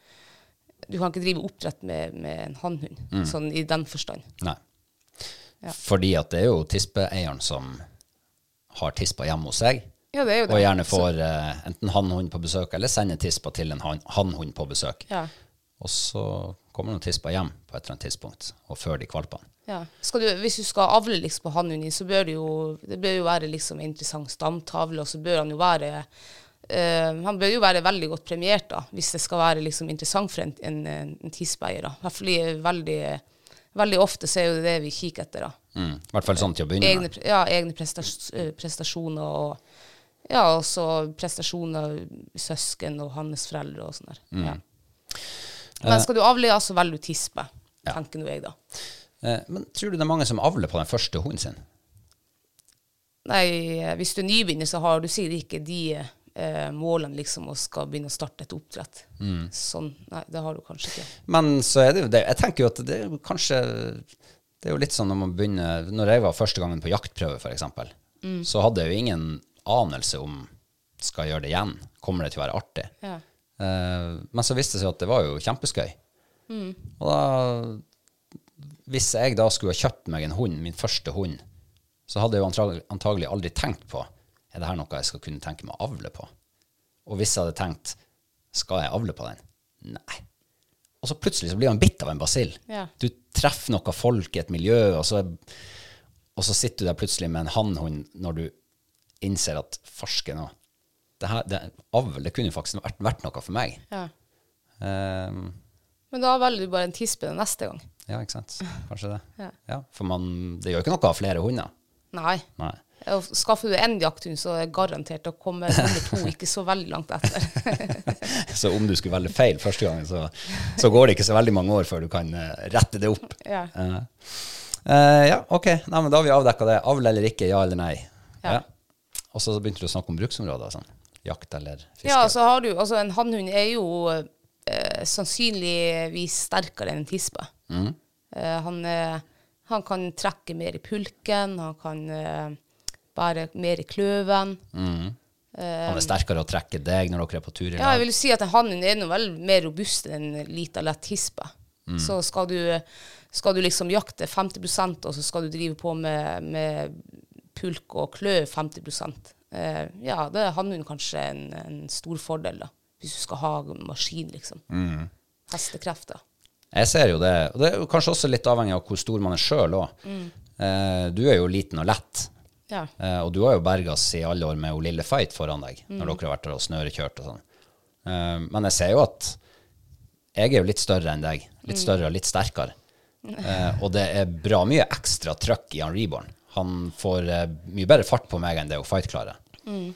[SPEAKER 3] du kan ikke drive oppdrett med, med en hannhund,
[SPEAKER 2] Mm.
[SPEAKER 3] sånn i den forstand.
[SPEAKER 2] Nei. Fordi at det er jo tispeeieren som har tispa hjemme hos seg,
[SPEAKER 3] Ja, det er jo
[SPEAKER 2] og
[SPEAKER 3] det.
[SPEAKER 2] gjerne får eh, enten hannhund på besøk, eller sender tispa til en han- hannhund på besøk.
[SPEAKER 3] Ja.
[SPEAKER 2] Og så kommer noen tispa hjem på et eller annet tidspunkt og før de valpene.
[SPEAKER 3] Ja. Skal du, hvis du skal avle liksom, på hannhunden din, så bør det jo, det bør jo være liksom, en interessant stamtavle, og så bør han jo være eh, han bør jo være veldig godt premiert, da, hvis det skal være liksom, interessant for en, en, en tispeeier. da. I hvert fall i veldig, veldig ofte så er jo det det vi kikker etter. da.
[SPEAKER 2] Mm. I hvert fall sånn til å begynne
[SPEAKER 3] egne,
[SPEAKER 2] med.
[SPEAKER 3] pre- ja, egne prestas- eh, prestasjoner og ja, også prestasjoner søsken og hans foreldre og sånn der.
[SPEAKER 2] Mm.
[SPEAKER 3] Ja. Men skal du avle, ja, så velger du tispe, tenker nå jeg, da.
[SPEAKER 2] Eh, Men tror du det er mange som avler på den første hunden sin?
[SPEAKER 3] Nei, eh, hvis du er nybegynner, så har du sikkert ikke de eh, målene liksom å skal begynne å starte et oppdrett.
[SPEAKER 2] Mm.
[SPEAKER 3] Sånn, nei, det har du kanskje ikke.
[SPEAKER 2] Men så er det jo det. Jeg tenker jo at det er jo kanskje Det er jo litt sånn når man begynner Når jeg var første gangen på jaktprøve, f.eks., så hadde jeg jo ingen anelse om skal jeg gjøre det igjen. Kommer det til å være artig?
[SPEAKER 3] Ja.
[SPEAKER 2] Eh, men så viste det seg at det var jo kjempeskøy. Og da Hvis jeg da skulle ha kjøpt meg en hund, min første hund, så hadde jeg jo antagelig, antagelig aldri tenkt på er det her noe jeg skal kunne tenke meg å avle på. Og hvis jeg hadde tenkt skal jeg avle på den? Nei. Og så plutselig så blir han bitt av en basill.
[SPEAKER 3] Ja.
[SPEAKER 2] Du treffer noe folk i et miljø, og så, og så sitter du der plutselig med en hannhund når du innser at farske nå det her, det, Avl, det kunne jo faktisk vært, vært noe for meg.
[SPEAKER 3] Ja.
[SPEAKER 2] Ehm,
[SPEAKER 3] Men da velger du bare en tispe den neste gang.
[SPEAKER 2] ja, ikke sant. Kanskje det.
[SPEAKER 3] Ja.
[SPEAKER 2] for man, det gjør ikke noe å ha flere hunder.
[SPEAKER 3] Nei.
[SPEAKER 2] Nei.
[SPEAKER 3] Og Skaffer du en jakthund, så er det garantert å komme nummer to ikke så veldig langt etter.
[SPEAKER 2] Så om du skulle velge feil første gangen, så, så går det ikke så veldig mange år før du kan eh, rette det opp.
[SPEAKER 3] Ja.
[SPEAKER 2] Eh, eh, ja, ok. Nei, men da har vi avdekka det. Avl eller ikke, ja eller nei. Ja. Og så begynte du å snakke om bruksområder. og Sånn. Jakt eller fiske.
[SPEAKER 3] Ja, så har du, altså En hannhund er jo eh, sannsynligvis sterkere enn en tispe. Eh, han, er- han kan trekke mer i pulken, han kan eh, bære mer i kløven. Eh,
[SPEAKER 2] Han er sterkere å trekke deg når dere er på tur i
[SPEAKER 3] Ja,
[SPEAKER 2] lag.
[SPEAKER 3] jeg vil si at en hannhund er noe vel mer robust enn en lita, lett tispe. Så skal du, skal du liksom jakte 50 og så skal du drive på med, med pulk og klø 50 eh, Ja, da er hannhund kanskje en, en stor fordel, da. Hvis du skal ha maskin, liksom. Hestekrefter.
[SPEAKER 2] Jeg ser jo det. Og det er jo kanskje også litt avhengig av hvor stor man er sjøl òg.
[SPEAKER 3] Mm.
[SPEAKER 2] Du er jo liten og lett,
[SPEAKER 3] Ja.
[SPEAKER 2] eh, og du har jo bergas i alle år med hun lille Fight foran deg,
[SPEAKER 3] Mm.
[SPEAKER 2] når dere har vært der og snørekjørt og sånn. Eh, Men jeg ser jo at jeg er jo litt større enn deg.
[SPEAKER 3] Mm.
[SPEAKER 2] Litt større og litt sterkere. Eh, Og det er bra mye ekstra trøkk i han Reborn. Han får eh, mye bedre fart på meg enn det hun Fight klarer.
[SPEAKER 3] Mm.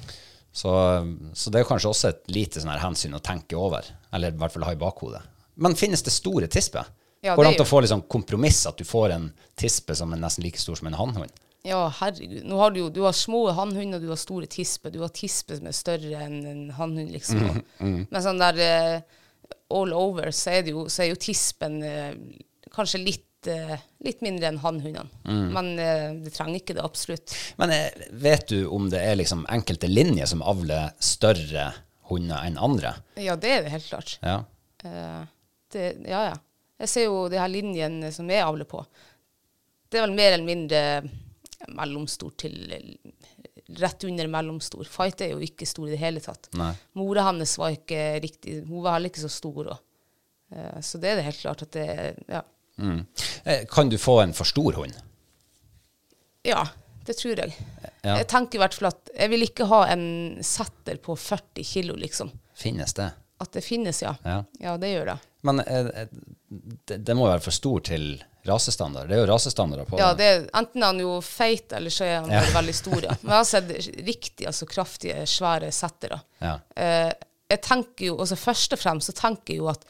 [SPEAKER 2] Så, så det er jo kanskje også et lite sånn her hensyn å tenke over, eller i hvert fall ha i bakhodet. Men finnes det store tisper?
[SPEAKER 3] Ja,
[SPEAKER 2] Går det
[SPEAKER 3] det
[SPEAKER 2] an til
[SPEAKER 3] gjør-
[SPEAKER 2] å få litt sånn kompromiss at du får en tispe som er nesten like stor som en hannhund?
[SPEAKER 3] ja, herregud. Nå har du jo du har små hannhunder, du har store tisper. Du har tisper som er større enn en hannhund, liksom. Men sånn der eh, all over, så er, det jo, så er jo tispen eh, kanskje litt, eh, litt mindre enn hannhundene. Men eh, det trenger ikke det, absolutt.
[SPEAKER 2] Men eh, vet du om det er liksom enkelte linjer som avler større hunder enn andre?
[SPEAKER 3] Ja, det er det helt klart.
[SPEAKER 2] Ja.
[SPEAKER 3] Eh, det, ja, ja. Jeg ser jo de her linjene som jeg avler på. Det er vel mer eller mindre mellomstor til rett under mellomstor. Fight er jo ikke stor i det hele tatt.
[SPEAKER 2] Nei.
[SPEAKER 3] Mora hans var ikke riktig Hun var heller ikke så stor. Og, eh, så det er det helt klart at det ja.
[SPEAKER 2] Mm. Eh, Kan du få en for stor hund?
[SPEAKER 3] ja, det tror jeg.
[SPEAKER 2] Ja.
[SPEAKER 3] Jeg tenker i hvert fall at jeg vil ikke ha en setter på 40 kilo, liksom.
[SPEAKER 2] Finnes det?
[SPEAKER 3] At det finnes, ja.
[SPEAKER 2] Ja.
[SPEAKER 3] ja det gjør det.
[SPEAKER 2] Men eh, eh, det, det må jo være for stor til rasestandard. Det er jo rasestandarder på
[SPEAKER 3] Ja, det er, enten er han jo feit, eller så er han
[SPEAKER 2] Ja.
[SPEAKER 3] bare veldig stor. Ja. Men jeg har sett riktig altså, kraftige, svære settere.
[SPEAKER 2] Ja.
[SPEAKER 3] Eh, jeg tenker jo, altså Først og fremst så tenker jeg jo at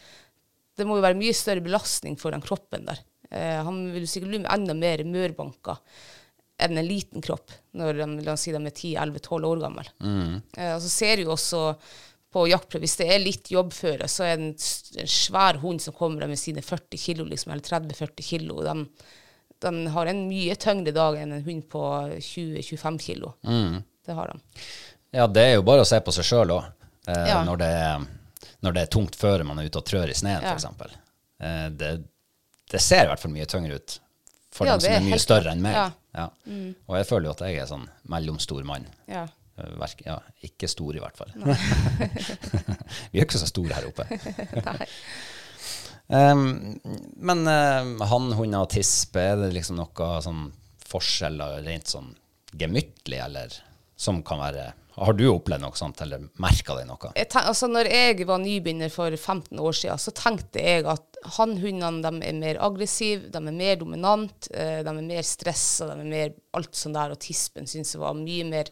[SPEAKER 3] det må jo være mye større belastning for den kroppen der. Eh, han vil jo sikkert bli enda mer mørbanka enn en liten kropp når de, la oss si de er 10-11-12 år gamle. Eh, og så ser du jo også på jaktprøve, hvis det er litt jobbføre, så er det en, s- en svær hund som kommer med sine 40 kilo, liksom, eller 30-40 kilo. og De, den har en mye tyngre dag enn en hund på 20-25 kilo. Det har de.
[SPEAKER 2] Ja, det er jo bare å se på seg sjøl òg. Eh,
[SPEAKER 3] Ja.
[SPEAKER 2] når, det er- når det er tungt føre man er ute og trør i sneen,
[SPEAKER 3] Ja.
[SPEAKER 2] for f.eks. Eh, det, det ser i hvert fall mye tyngre ut for
[SPEAKER 3] Ja,
[SPEAKER 2] dem som
[SPEAKER 3] det
[SPEAKER 2] er
[SPEAKER 3] er
[SPEAKER 2] mye
[SPEAKER 3] helt
[SPEAKER 2] større
[SPEAKER 3] klart.
[SPEAKER 2] enn meg.
[SPEAKER 3] Ja. Mm.
[SPEAKER 2] Ja. Og jeg føler jo at jeg er sånn mellomstor mann.
[SPEAKER 3] Ja.
[SPEAKER 2] Eh, verk- ja, ikke stor, i hvert fall. Vi er ikke så store her oppe. Em, men uh, hannhunder og tispe, er det liksom noe sånn forskjeller rent sånn gemyttlig, eller som kan være Har du opplevd noe sånt, eller merka deg noe?
[SPEAKER 3] Jeg tenk, altså når jeg var nybegynner for 15 år siden, så tenkte jeg at hannhundene de er mer aggressive, de er mer dominant, eh, de er mer stressa, de er mer alt sånn der, og tispen syns jeg var mye mer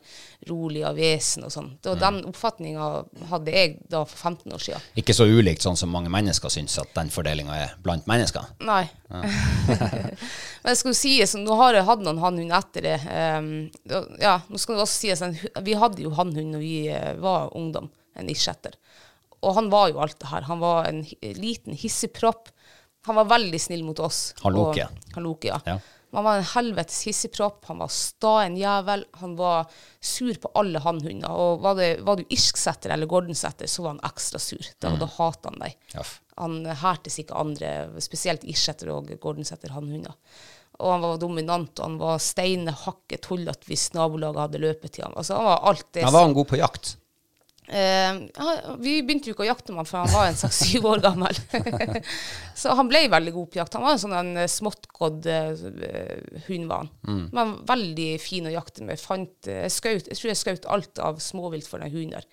[SPEAKER 3] rolig av vesen og sånn. Det var Den oppfatninga hadde jeg da for 15 år siden.
[SPEAKER 2] Ikke så ulikt sånn som mange mennesker syns at den fordelinga er blant mennesker.
[SPEAKER 3] Nei. Men jeg skal jo si, så nå har jeg hatt noen hannhund etter det. ehm, da- ja, nå skal det også sies, en hu- Vi hadde jo hannhund når vi eh, var ungdom, en isjetter. Og han var jo alt det her. Han var en hi- liten hissigpropp. Han var veldig snill mot oss.
[SPEAKER 2] Han
[SPEAKER 3] og-
[SPEAKER 2] Loke.
[SPEAKER 3] Han Loke, ja.
[SPEAKER 2] Ja.
[SPEAKER 3] Men Han var en helvetes hissigpropp, han var sta en jævel, han var sur på alle hannhunder. Og var, det, var du irsksetter eller gordensetter, så var han ekstra sur. Da,
[SPEAKER 2] Mm.
[SPEAKER 3] da hatet han deg.
[SPEAKER 2] Jaff.
[SPEAKER 3] Han hertes ikke andre, spesielt irsetter og gordensetter hannhunder. Og han var dominant, og han var steinhakket tullete hvis nabolaget hadde løpet til ham. Altså, han var alt det
[SPEAKER 2] Men var han god på jakt?
[SPEAKER 3] Eh, ja, vi begynte jo ikke å jakte med han før han var en seks-syv år gammel. så han ble veldig god på jakt. Han var en sånn en eh, småttgådd eh, hund, var han. Men veldig fin å jakte med. Fant, eh, jeg, skaut, jeg tror jeg skjøt alt av småvilt for den hunden der.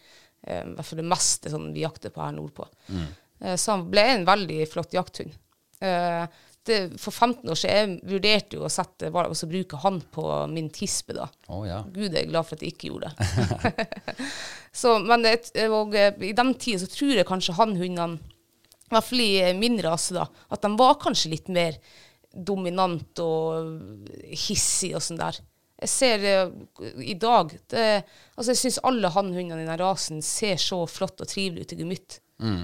[SPEAKER 3] Eh, I hvert fall det meste sånn, vi jakter på her nordpå. Eh, så han ble en veldig flott jakthund. Eh, det, for 15 år siden jeg vurderte jo å sette, bare- altså, bruke han på min tispe. da.
[SPEAKER 2] Å ja.
[SPEAKER 3] Gud, jeg er glad for at jeg ikke gjorde det. så, men det, og, eh, i den tida så tror jeg kanskje hannhundene, i hvert fall i eh, min rase, da, at de var kanskje litt mer dominant og hissig og sånn der. Jeg ser eh, i dag det, altså Jeg syns alle hannhundene i den rasen ser så flott og trivelig ut i gemytt.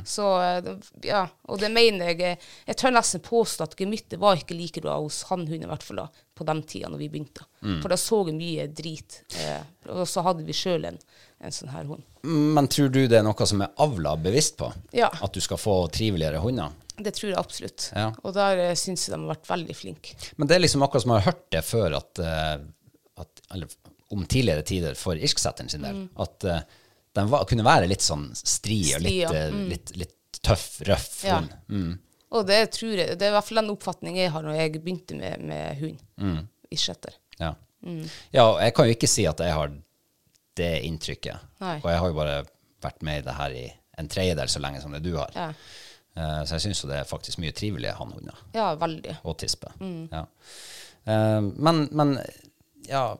[SPEAKER 3] Så eh, det- ja, og det mener jeg eh, Jeg tør nesten påstå at gemyttet var ikke like bra hos hannhunder, i hvert fall da, på den tida når vi begynte. For da så jeg mye drit. Eh, og så hadde vi sjøl en, en sånn her hund.
[SPEAKER 2] Men tror du det er noe som er avla bevisst på?
[SPEAKER 3] Ja.
[SPEAKER 2] At du skal få triveligere hunder?
[SPEAKER 3] Det tror jeg absolutt.
[SPEAKER 2] Ja.
[SPEAKER 3] Og der syns jeg de har vært veldig flinke.
[SPEAKER 2] Men det er liksom akkurat som jeg har hørt det før, at, eh, at eller om tidligere tider for irsksetteren sin del, at eh, den var, kunne være litt sånn stri og
[SPEAKER 3] Mm. Stri, ja. Mm.
[SPEAKER 2] litt, eh, litt, litt tøff, røff
[SPEAKER 3] Ja.
[SPEAKER 2] hund. Mm.
[SPEAKER 3] Og det tror jeg, det er i hvert fall den oppfatningen jeg har når jeg begynte med, med hund. I sjetter.
[SPEAKER 2] Ja.
[SPEAKER 3] Mm.
[SPEAKER 2] ja, og jeg kan jo ikke si at jeg har det inntrykket.
[SPEAKER 3] Nei.
[SPEAKER 2] Og jeg har jo bare vært med i det her i en tredjedel så lenge som det du har.
[SPEAKER 3] Ja.
[SPEAKER 2] Eh, Så jeg syns jo det er faktisk mye trivelige hannhunder.
[SPEAKER 3] ja, veldig.
[SPEAKER 2] Og tispe.
[SPEAKER 3] Mm.
[SPEAKER 2] Ja. Eh, Men, men ja,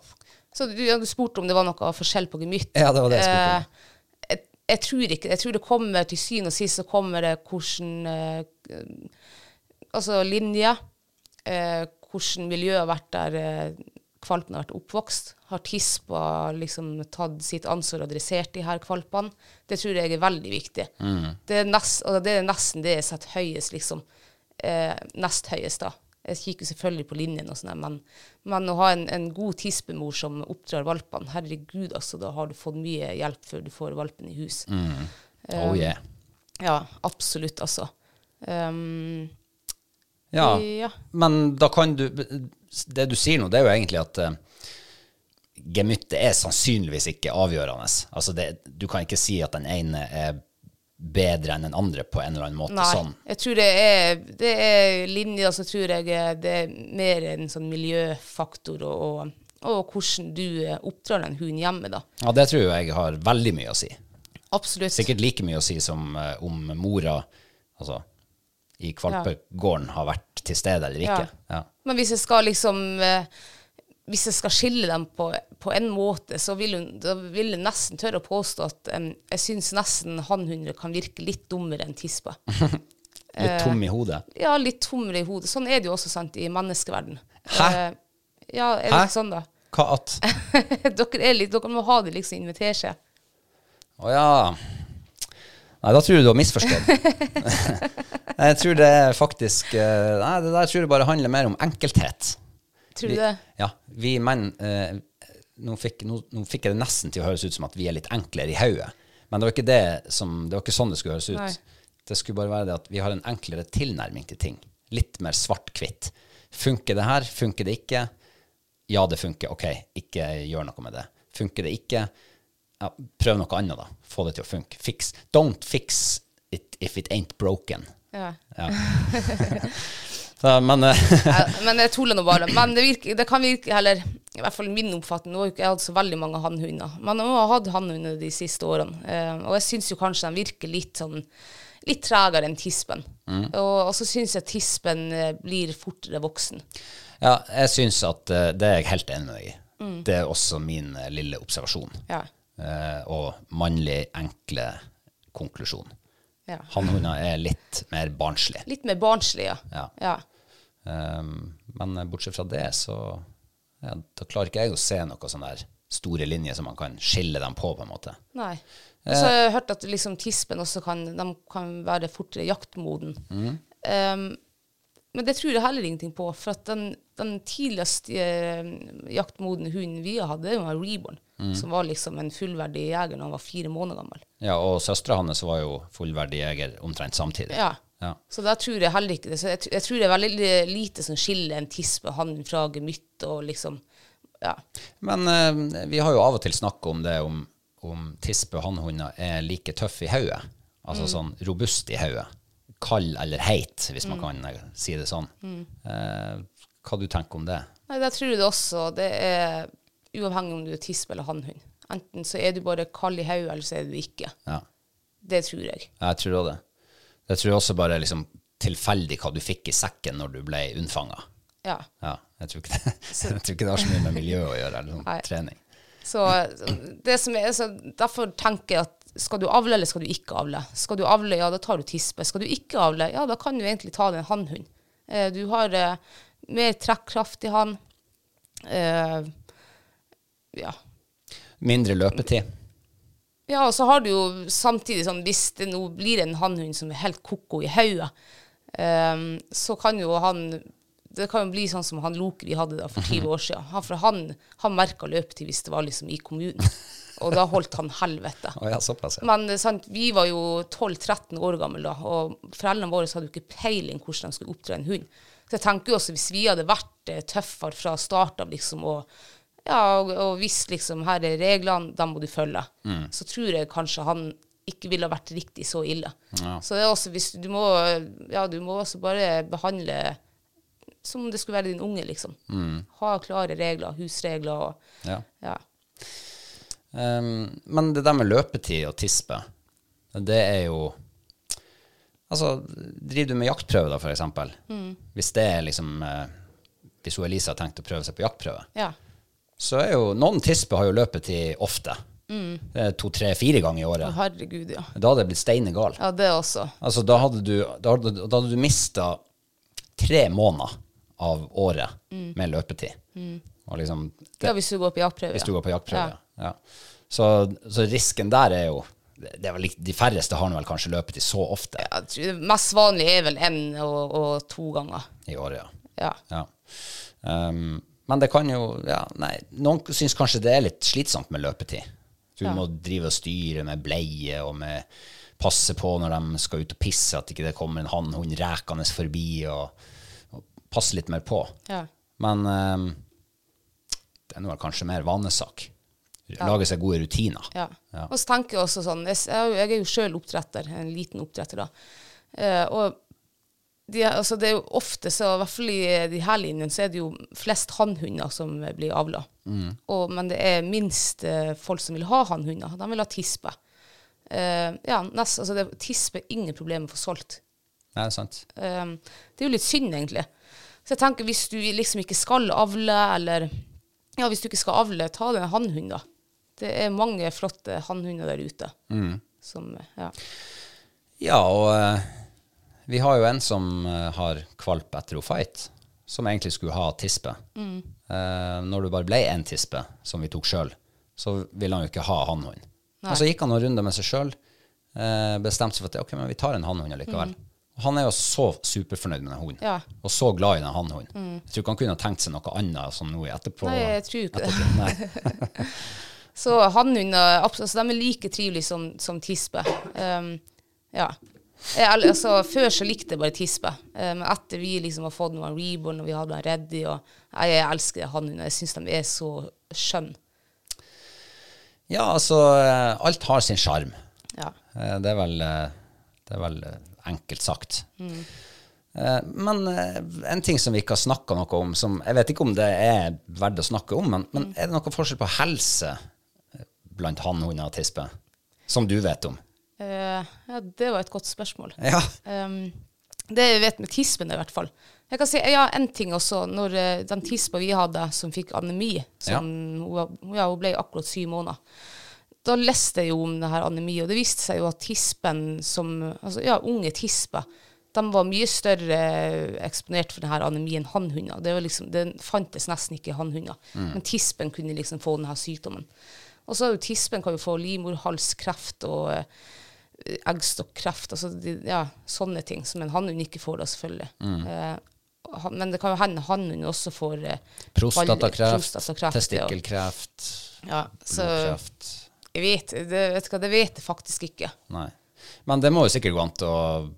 [SPEAKER 3] Så du, ja, du spurte om det var noe forskjell på gemytt.
[SPEAKER 2] ja, det var det jeg spurte om.
[SPEAKER 3] Eh, jeg, jeg tror ikke Jeg tror det kommer til syvende og sist så kommer det hvordan eh, Altså linje, eh, hvordan miljøet har vært der eh, kvalpen har vært oppvokst. Har tispa liksom tatt sitt ansvar og dressert de her kvalpene? Det tror jeg er veldig viktig. Det, er nest, altså, det er nesten det jeg setter høyest, liksom. Eh, nest høyest, da. Jeg kikker selvfølgelig på linjen, og sånn, der, men, men å ha en, en god tispemor som oppdrar valpene Herregud, altså, da har du fått mye hjelp før du får valpen i hus.
[SPEAKER 2] Oh, yeah.
[SPEAKER 3] Ja, absolutt, altså. Um,
[SPEAKER 2] Ja.
[SPEAKER 3] Ja.
[SPEAKER 2] Men da kan du Det du sier nå, det er jo egentlig at eh, gemyttet er sannsynligvis ikke avgjørende. Altså det, du kan ikke si at den ene er bedre enn den andre på en eller annen måte.
[SPEAKER 3] Nei,
[SPEAKER 2] sånn.
[SPEAKER 3] jeg tror det er, det er linjer, så tror jeg eh, det er mer en sånn miljøfaktor og, og, og hvordan du eh, oppdrar den hunden hjemme, da.
[SPEAKER 2] Ja, det tror jeg har veldig mye å si.
[SPEAKER 3] Absolutt.
[SPEAKER 2] Sikkert like mye å si som eh, om mora altså, i valpegården har vært til stede eller ikke. Ja.
[SPEAKER 3] Men hvis jeg skal liksom eh, Hvis jeg skal skille dem på, på en måte, så vil hun da vil jeg nesten tørre å påstå at em, jeg syns nesten hannhunder kan virke litt dummere enn tispa.
[SPEAKER 2] Litt tom i hodet.
[SPEAKER 3] Ja, litt tommere i hodet. Sånn er det jo også sant, i menneskeverden.
[SPEAKER 2] Hæ?
[SPEAKER 3] Eh, ja, er det
[SPEAKER 2] Hæ?
[SPEAKER 3] ikke sånn, da?
[SPEAKER 2] Hva at?
[SPEAKER 3] dere, er litt, dere må ha det liksom invitere seg.
[SPEAKER 2] Å ja. Nei, da tror jeg du har misforstått. Nei, jeg tror det er faktisk eh, Nei, det der tror jeg bare handler mer om enkelthet.
[SPEAKER 3] Tror du det?
[SPEAKER 2] Vi, ja. Vi menn eh, nå, fikk, nå, nå fikk jeg det nesten til å høres ut som at vi er litt enklere i hodet. Men det var ikke det som Det var ikke sånn det skulle høres ut.
[SPEAKER 3] Nei.
[SPEAKER 2] Det skulle bare være det at vi har en enklere tilnærming til ting. Litt mer svart-hvitt. Funker det her? Funker det ikke? Ja, det funker. Ok, ikke gjør noe med det. Funker det ikke? Ja, prøv noe annet, da. Få det til å funke. Fix. Don't fix it if it ain't broken.
[SPEAKER 3] Ja.
[SPEAKER 2] Ja. Så, men eh,
[SPEAKER 3] Jeg- Men jeg tuller nå bare. Men det, virker, det kan virke heller I hvert fall min oppfatning. Nå har jo ikke jeg hatt så veldig mange hannhunder. Men jeg har hatt hannhunder de siste årene. Eh, og jeg syns jo kanskje de virker litt sånn Litt tregere enn tispen.
[SPEAKER 2] Mm.
[SPEAKER 3] Og, og så syns jeg tispen eh, blir fortere voksen.
[SPEAKER 2] Ja, jeg syns at eh, det er jeg helt enig med deg i. Det er også min eh, lille observasjon.
[SPEAKER 3] Ja.
[SPEAKER 2] Eh, og mannlig, enkle konklusjon.
[SPEAKER 3] ja.
[SPEAKER 2] Hannhunder er litt mer barnslig.
[SPEAKER 3] Litt mer barnslig, ja.
[SPEAKER 2] Ja.
[SPEAKER 3] ja.
[SPEAKER 2] Um, men eh, bortsett fra det, så ja, da klarer ikke jeg å se noen sånne der store linjer som man kan skille dem på, på en måte.
[SPEAKER 3] Nei. Og så har jeg hørt at liksom tispen også kan, de kan være fortere jaktmoden. Ehm, men det tror jeg heller ingenting på, for at den, den tidligste eh, jaktmodne hunden vi hadde, det var en reborn, som var liksom en fullverdig jeger da han var fire måneder gammel.
[SPEAKER 2] Ja, og søstera hans var jo fullverdig jeger omtrent samtidig.
[SPEAKER 3] Ja.
[SPEAKER 2] Ja.
[SPEAKER 3] Så da tror jeg heller ikke det. Så jeg, tr- jeg tror det er veldig lite som skiller en tispe og han fra gemytt og liksom Ja.
[SPEAKER 2] Men eh, vi har jo av og til snakka om det om, om tispe og hannhunder er like tøff i hodet. Altså sånn robust i hodet. Kald eller heit, hvis man kan eh, si det sånn. Eh, hva du tenker om det?
[SPEAKER 3] Nei, da tror jeg det også. Det er uavhengig om du er tispe eller hannhund. Enten så er du bare kald i hodet, eller så er du ikke.
[SPEAKER 2] Ja,
[SPEAKER 3] Det tror jeg.
[SPEAKER 2] jeg tror også det. Jeg tror også bare liksom tilfeldig hva du fikk i sekken når du ble unnfanga.
[SPEAKER 3] Ja.
[SPEAKER 2] Ja, jeg, tror ikke det- jeg tror ikke det har så mye med miljø å gjøre, eller sånn
[SPEAKER 3] Nei.
[SPEAKER 2] trening.
[SPEAKER 3] Så, så det som er, så derfor tenker jeg at skal du avle, eller skal du ikke avle? Skal du avle, ja, da tar du tispe. Skal du ikke avle, ja, da kan du egentlig ta deg en hannhund. Eh, du har eh, mer trekkraft i han. Eh, ja.
[SPEAKER 2] Mindre løpetid.
[SPEAKER 3] ja, og så har du jo samtidig sånn, hvis det nå blir en hannhund som er helt koko i hodet, eh, så kan jo han det kan jo bli sånn som han Loker vi hadde da for 20 år siden. Han, for han, han merka løpetid hvis det var liksom i kommunen. Og da holdt han helvete.
[SPEAKER 2] Å ja, såpass, ja.
[SPEAKER 3] Men eh, sant, vi var jo 12-13 år gamle da, og foreldrene våre hadde jo ikke peiling hvordan de skulle oppdra en hund. Så jeg tenker jo også hvis vi hadde vært eh, tøffere fra start av, liksom, og, ja, og, og visst liksom her er reglene, dem må du følge, så tror jeg kanskje han ikke ville ha vært riktig så ille. Så det er også hvis du må, ja, du må også bare behandle som om det skulle være din unge, liksom. Ha klare regler, husregler og
[SPEAKER 2] ja.
[SPEAKER 3] ja.
[SPEAKER 2] Ehm, men det der med løpetid og tispe, det er jo Altså, driver du med jaktprøve, da, for eksempel. Hvis det er liksom eh, Hvis hun Elise har tenkt å prøve seg på jaktprøve,
[SPEAKER 3] Ja.
[SPEAKER 2] så er jo Noen tisper har jo løpetid ofte. Eh, To, tre, fire ganger i
[SPEAKER 3] Å,
[SPEAKER 2] året.
[SPEAKER 3] Herregud, ja.
[SPEAKER 2] Da hadde jeg blitt steinegal.
[SPEAKER 3] Ja, det også.
[SPEAKER 2] Altså, da hadde du, da hadde, da hadde du mista tre måneder av året med løpetid. Og liksom,
[SPEAKER 3] Ja, hvis du går på jaktprøve.
[SPEAKER 2] hvis
[SPEAKER 3] ja.
[SPEAKER 2] du går på jaktprøve. Ja. Så, så risken der er jo det det er vel, ikke- De færreste har nå vel kanskje løpetid så ofte
[SPEAKER 3] Ja, jeg tror det mest vanlige er vel én og, og to ganger.
[SPEAKER 2] i året. ja.
[SPEAKER 3] Ja.
[SPEAKER 2] Ja. Ehm, men det kan jo ja, nei, Noen syns kanskje det er litt slitsomt med løpetid. Du må drive og styre med bleie og med passe på når de skal ut og pisse, at ikke det kommer en hannhund rekende forbi, og, og passe litt mer på.
[SPEAKER 3] Ja.
[SPEAKER 2] Men ehm, det er nå vel kanskje mer vanesak. Lage seg gode rutiner.
[SPEAKER 3] ja. Og så tenker jeg også sånn Jeg, s- jeg er jo- jeg er jo sjøl oppdretter, en liten oppdretter, da. Eh, og de, er- altså, det er jo ofte, så i hvert fall i de her linjene, så er det jo flest hannhunder som eh, blir avla.
[SPEAKER 2] Mm.
[SPEAKER 3] Og- Men det er minst eh, folk som vil ha hannhunder. De vil ha tispe. Eh, ja, nest, altså det, tispe er ingen problem å få solgt.
[SPEAKER 2] Nei, det er sant.
[SPEAKER 3] Um, det er jo litt synd, egentlig. Så jeg tenker, hvis du liksom ikke skal avle, eller Ja, hvis du ikke skal avle, ta deg en hannhund, da. Det er mange flotte hannhunder der ute. Som Ja.
[SPEAKER 2] Ja, og eh, vi har jo en som eh, har kvalp etter hun fight, som egentlig skulle ha tispe.
[SPEAKER 3] Mm.
[SPEAKER 2] Eh, når det bare ble én tispe, som vi tok sjøl, så ville han jo ikke ha hannhund. Men så gikk han noen runder med seg sjøl, bestemte seg for at ok, men vi tar en hannhund allikevel. Og han er jo så superfornøyd med den hunden,
[SPEAKER 3] Mm. Ja. Mm.
[SPEAKER 2] og så glad i den hannhunden. Jeg tror ikke han kunne ha tenkt seg noe annet som nå i etterpå.
[SPEAKER 3] Nei, jeg tror ikke det.
[SPEAKER 2] ettertid. Nei.
[SPEAKER 3] Så hannhunder abs- altså, de er like trivelige som, som tispe. Um, ja. Jeg, al- altså, før så likte jeg bare tispe, Eh, men etter vi liksom har fått noen reborn og vi hadde en Reddy og Nei, Jeg elsker hannhunder. Jeg syns de er så skjønne.
[SPEAKER 2] Ja, altså, eh, alt har sin sjarm.
[SPEAKER 3] Ja.
[SPEAKER 2] Eh, Det er vel, eh, det er vel eh, enkelt sagt.
[SPEAKER 3] Mm.
[SPEAKER 2] Eh, Men eh, en ting som vi ikke har snakka noe om, som jeg vet ikke om det er verdt å snakke om, men,
[SPEAKER 3] Mm.
[SPEAKER 2] men er det noen forskjell på helse eh, blant hannhunder og tispe? Som du vet om?
[SPEAKER 3] Eh, ja, det var et godt spørsmål.
[SPEAKER 2] Ja.
[SPEAKER 3] Ehm, det jeg vet med tispen, i hvert fall. Jeg kan si, ja, En ting også, når eh, den tispa vi hadde som fikk anemi som, hun, var- ja, hun ble akkurat syv måneder. Da leste jeg jo om det her anemi, og det viste seg jo at tispen som altså, Ja, unge tisper de var mye større eh, eksponert for denne anemien enn hannhunder. Det, var liksom, det fantes nesten ikke i hannhunder. Men tispen kunne liksom få denne sykdommen. Og så er jo tispen kan jo få livmorhalskreft og eh, eggstokkreft, altså de, ja, sånne ting som en hannhund ikke får, da, selvfølgelig. Eh, han- men det kan jo hende hannhund også får eh, ball-
[SPEAKER 2] Prostatakreft,
[SPEAKER 3] prostatakreft,
[SPEAKER 2] testikkelkreft,
[SPEAKER 3] Ja. Ja, så
[SPEAKER 2] blodkreft
[SPEAKER 3] jeg vet, det, vet du hva, det vet jeg faktisk ikke.
[SPEAKER 2] Nei. Men det må jo sikkert gå an til å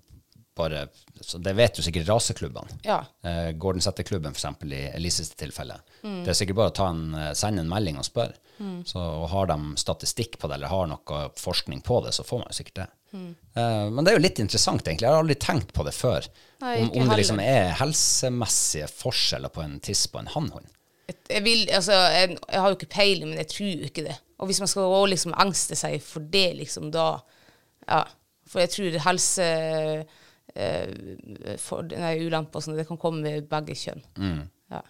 [SPEAKER 2] bare så Det vet jo sikkert raseklubbene.
[SPEAKER 3] Ja.
[SPEAKER 2] Eh, Gordon Setter-klubben, f.eks., i Elises tilfelle.
[SPEAKER 3] Mm.
[SPEAKER 2] Det er sikkert bare å ta en, eh, sende en melding og spørre. Så, og har de statistikk på det, eller har noe forskning på det, så får man jo sikkert det.
[SPEAKER 3] Mm.
[SPEAKER 2] Eh, men det er jo litt interessant, egentlig. Jeg har aldri tenkt på det før.
[SPEAKER 3] Nei,
[SPEAKER 2] om,
[SPEAKER 3] ikke
[SPEAKER 2] om det
[SPEAKER 3] heller.
[SPEAKER 2] liksom er helsemessige forskjeller på en tiss på en hannhund.
[SPEAKER 3] Jeg, jeg, vil, altså, jeg, jeg har jo ikke peiling, men jeg tror jo ikke det. Og hvis man skal også liksom engste seg for det, liksom, da Ja. For jeg tror helse eh, for, nei, ulemper og sånn. Det kan komme med begge kjønn. Ja.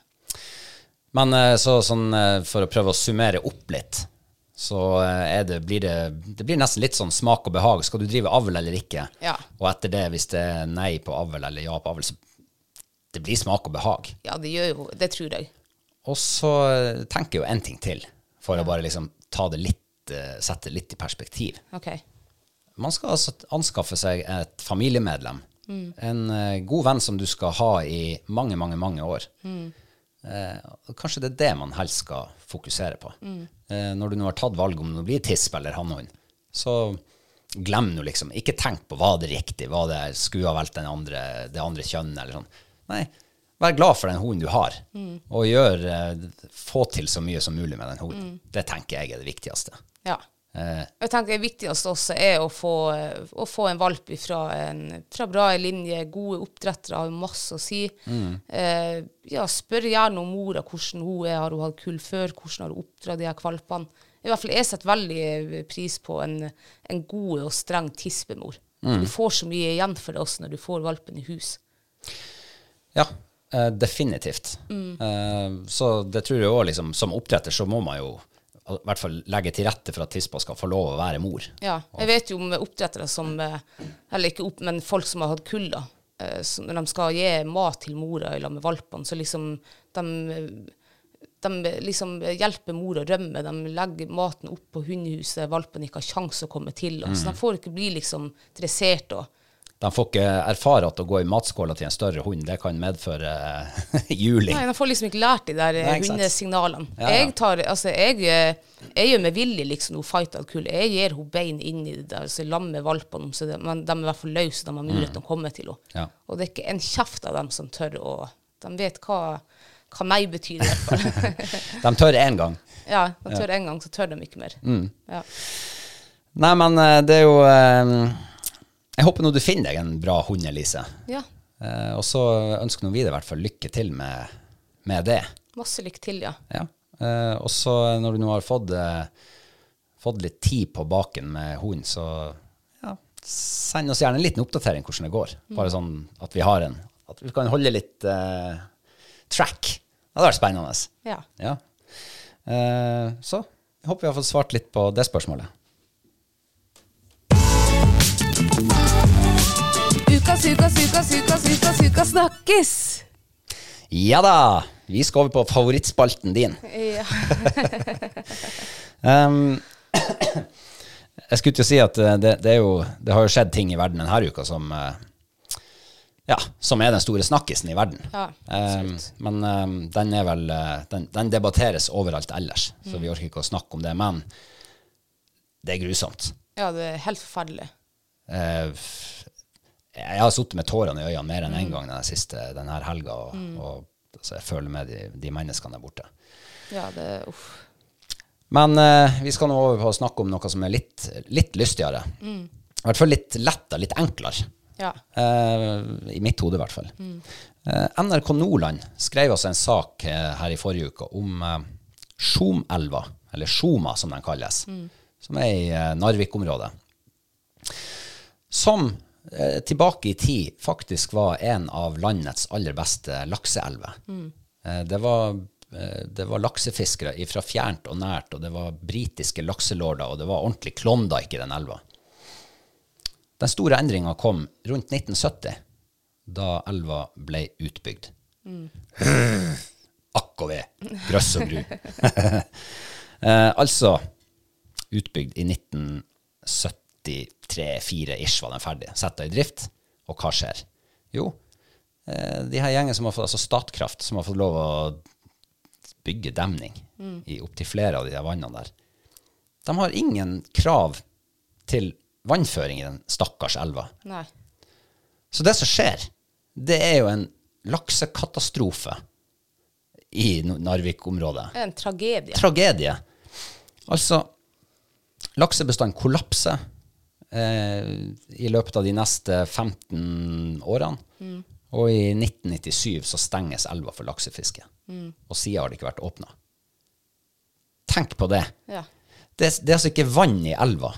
[SPEAKER 2] Men eh, så, sånn, eh, for å prøve å summere opp litt, så eh, er det, blir det, det blir nesten litt sånn smak og behag. Skal du drive avl eller ikke?
[SPEAKER 3] Ja.
[SPEAKER 2] Og etter det, hvis det er nei på avl eller ja på avl, så det blir smak og behag.
[SPEAKER 3] ja, det gjør jo Det tror jeg.
[SPEAKER 2] Og så eh, tenker jeg jo en ting til, for å bare liksom ta det litt, eh, sette litt i perspektiv.
[SPEAKER 3] OK.
[SPEAKER 2] Man skal altså anskaffe seg et familiemedlem. En eh, god venn som du skal ha i mange, mange, mange år. Eh, og kanskje det er det man helst skal fokusere på. Eh, når du nå har tatt valget om det blir tisp eller hannhund, så glem nå liksom. Ikke tenk på var det riktig, var det skulle ha valgt den andre, det andre kjønnet eller sånn. Nei, vær glad for den hunden du har, og gjør, eh, få til så mye som mulig med den hunden. Det tenker jeg er det viktigste.
[SPEAKER 3] Ja.
[SPEAKER 2] Eh,
[SPEAKER 3] Jeg tenker Det viktigste også er å få, å få en valp fra, en, fra bra linje. Gode oppdrettere har jo masse å si. Eh, ja, Spør gjerne om mora hvordan hun er. Har hun hatt kull før? Hvordan har hun oppdratt de her valpene? I hvert fall Jeg setter veldig eh, pris på en, en god og streng tispemor. Du får så mye igjen for det også når du får valpen i hus.
[SPEAKER 2] Ja, eh, definitivt. Eh, så det tror jeg òg, liksom, som oppdretter så må man jo i hvert fall legge til rette for at tispa skal få lov å være mor.
[SPEAKER 3] Ja, jeg vet jo om oppdrettere som eh, Eller ikke opp, men folk som har hatt kull, da. eh, som- Når de skal gi mat til mora i lag med valpene, så liksom de, eh, de liksom hjelper mora å rømme. De legger maten opp på hundehuset valpene ikke har kjangs å komme til. Og, Så de får ikke bli liksom dressert og
[SPEAKER 2] De får ikke erfare at å gå i matskåla til en større hund, det kan medføre eh, juling.
[SPEAKER 3] Nei, de får liksom ikke lært de der eh,
[SPEAKER 2] Nei, ikke sant.
[SPEAKER 3] hundesignalene.
[SPEAKER 2] Ja, ja.
[SPEAKER 3] Jeg tar, altså, jeg, eh, jeg gjør med vilje liksom noe fight out kull. Jeg gir henne bein inn i det der, altså, så jeg lammer valpene, så det, men de er i hvert fall løse, de har mulighet til å komme til henne.
[SPEAKER 2] Mm. Ja.
[SPEAKER 3] Og det er ikke en kjeft av dem som tør å De vet hva, hva meg betyr, i hvert fall.
[SPEAKER 2] De tør én gang.
[SPEAKER 3] ja, de tør en gang, så tør de ikke mer.
[SPEAKER 2] Mm.
[SPEAKER 3] Ja.
[SPEAKER 2] Nei, men eh, det er jo eh, Jeg håper nå du finner deg en bra hund, Elise.
[SPEAKER 3] ja.
[SPEAKER 2] Eh, og så ønsker nå vi deg i hvert fall lykke til med, med det.
[SPEAKER 3] Masse lykke til, ja.
[SPEAKER 2] Ja. Eh, og så når du nå har fått, eh, fått litt tid på baken med hunden, så ja, send oss gjerne en liten oppdatering hvordan det går. Bare sånn at vi har en At vi kan holde litt eh, track. Det hadde vært spennende.
[SPEAKER 3] Ja.
[SPEAKER 2] Ja. Eh, så jeg håper vi har fått svart litt på det spørsmålet.
[SPEAKER 3] Ukas, ukas, ukas, ukas, ukas, ukas snakkes!
[SPEAKER 2] Ja da! Vi skal over på favorittspalten din.
[SPEAKER 3] Ja.
[SPEAKER 2] Ehm, jeg skulle til å si at eh, det, det, er jo, det har jo skjedd ting i verden denne uka som eh, ja, som er den store snakkisen i verden.
[SPEAKER 3] Ja,
[SPEAKER 2] Ehm, men ehm, den er vel eh, den, den debatteres overalt ellers,
[SPEAKER 3] Mm.
[SPEAKER 2] så vi orker ikke å snakke om det. Men det er grusomt.
[SPEAKER 3] ja, det er helt forferdelig.
[SPEAKER 2] Eh, f- jeg har sittet med tårene i øynene mer enn én en gang denne siste denne helga, og, og altså, jeg føler med de, de menneskene der borte.
[SPEAKER 3] Ja, det Uff.
[SPEAKER 2] Men eh, vi skal nå over på å snakke om noe som er litt, litt lystigere. I hvert fall litt lettere, litt enklere.
[SPEAKER 3] Ja.
[SPEAKER 2] Eh, I mitt hode, i hvert fall. Eh, NRK Nordland skrev altså en sak eh, her i forrige uke om eh, Sjomelva, eller Sjoma som den kalles, som er i eh, Narvik-området. Som eh, tilbake i tid faktisk var en av landets aller beste lakseelver. Eh, det, var, eh, det var laksefiskere fra fjernt og nært, og det var britiske lakselorder, og det var ordentlig Klondyke i den elva. Den store endringa kom rundt 1970, da elva ble utbygd. Akk og ved, grøss og gru. eh, altså utbygd i 1973-4-ish var den ferdig. Setta i drift. Og hva skjer? Jo, eh, de her gjengen som har fått, altså Statkraft, som har fått lov å bygge demning i opptil flere av de der vannene der, de har ingen krav til vannføring i den stakkars elva.
[SPEAKER 3] Nei.
[SPEAKER 2] Så det som skjer, det er jo en laksekatastrofe i Nor- Narvik-området.
[SPEAKER 3] Det er en tragedie.
[SPEAKER 2] Tragedie. Altså, laksebestand kollapser eh, i løpet av de neste 15 årene. Og i 1997 så stenges elva for laksefiske. Og siden har det ikke vært åpna. Tenk på det.
[SPEAKER 3] ja.
[SPEAKER 2] Det, det er altså ikke vann i elva.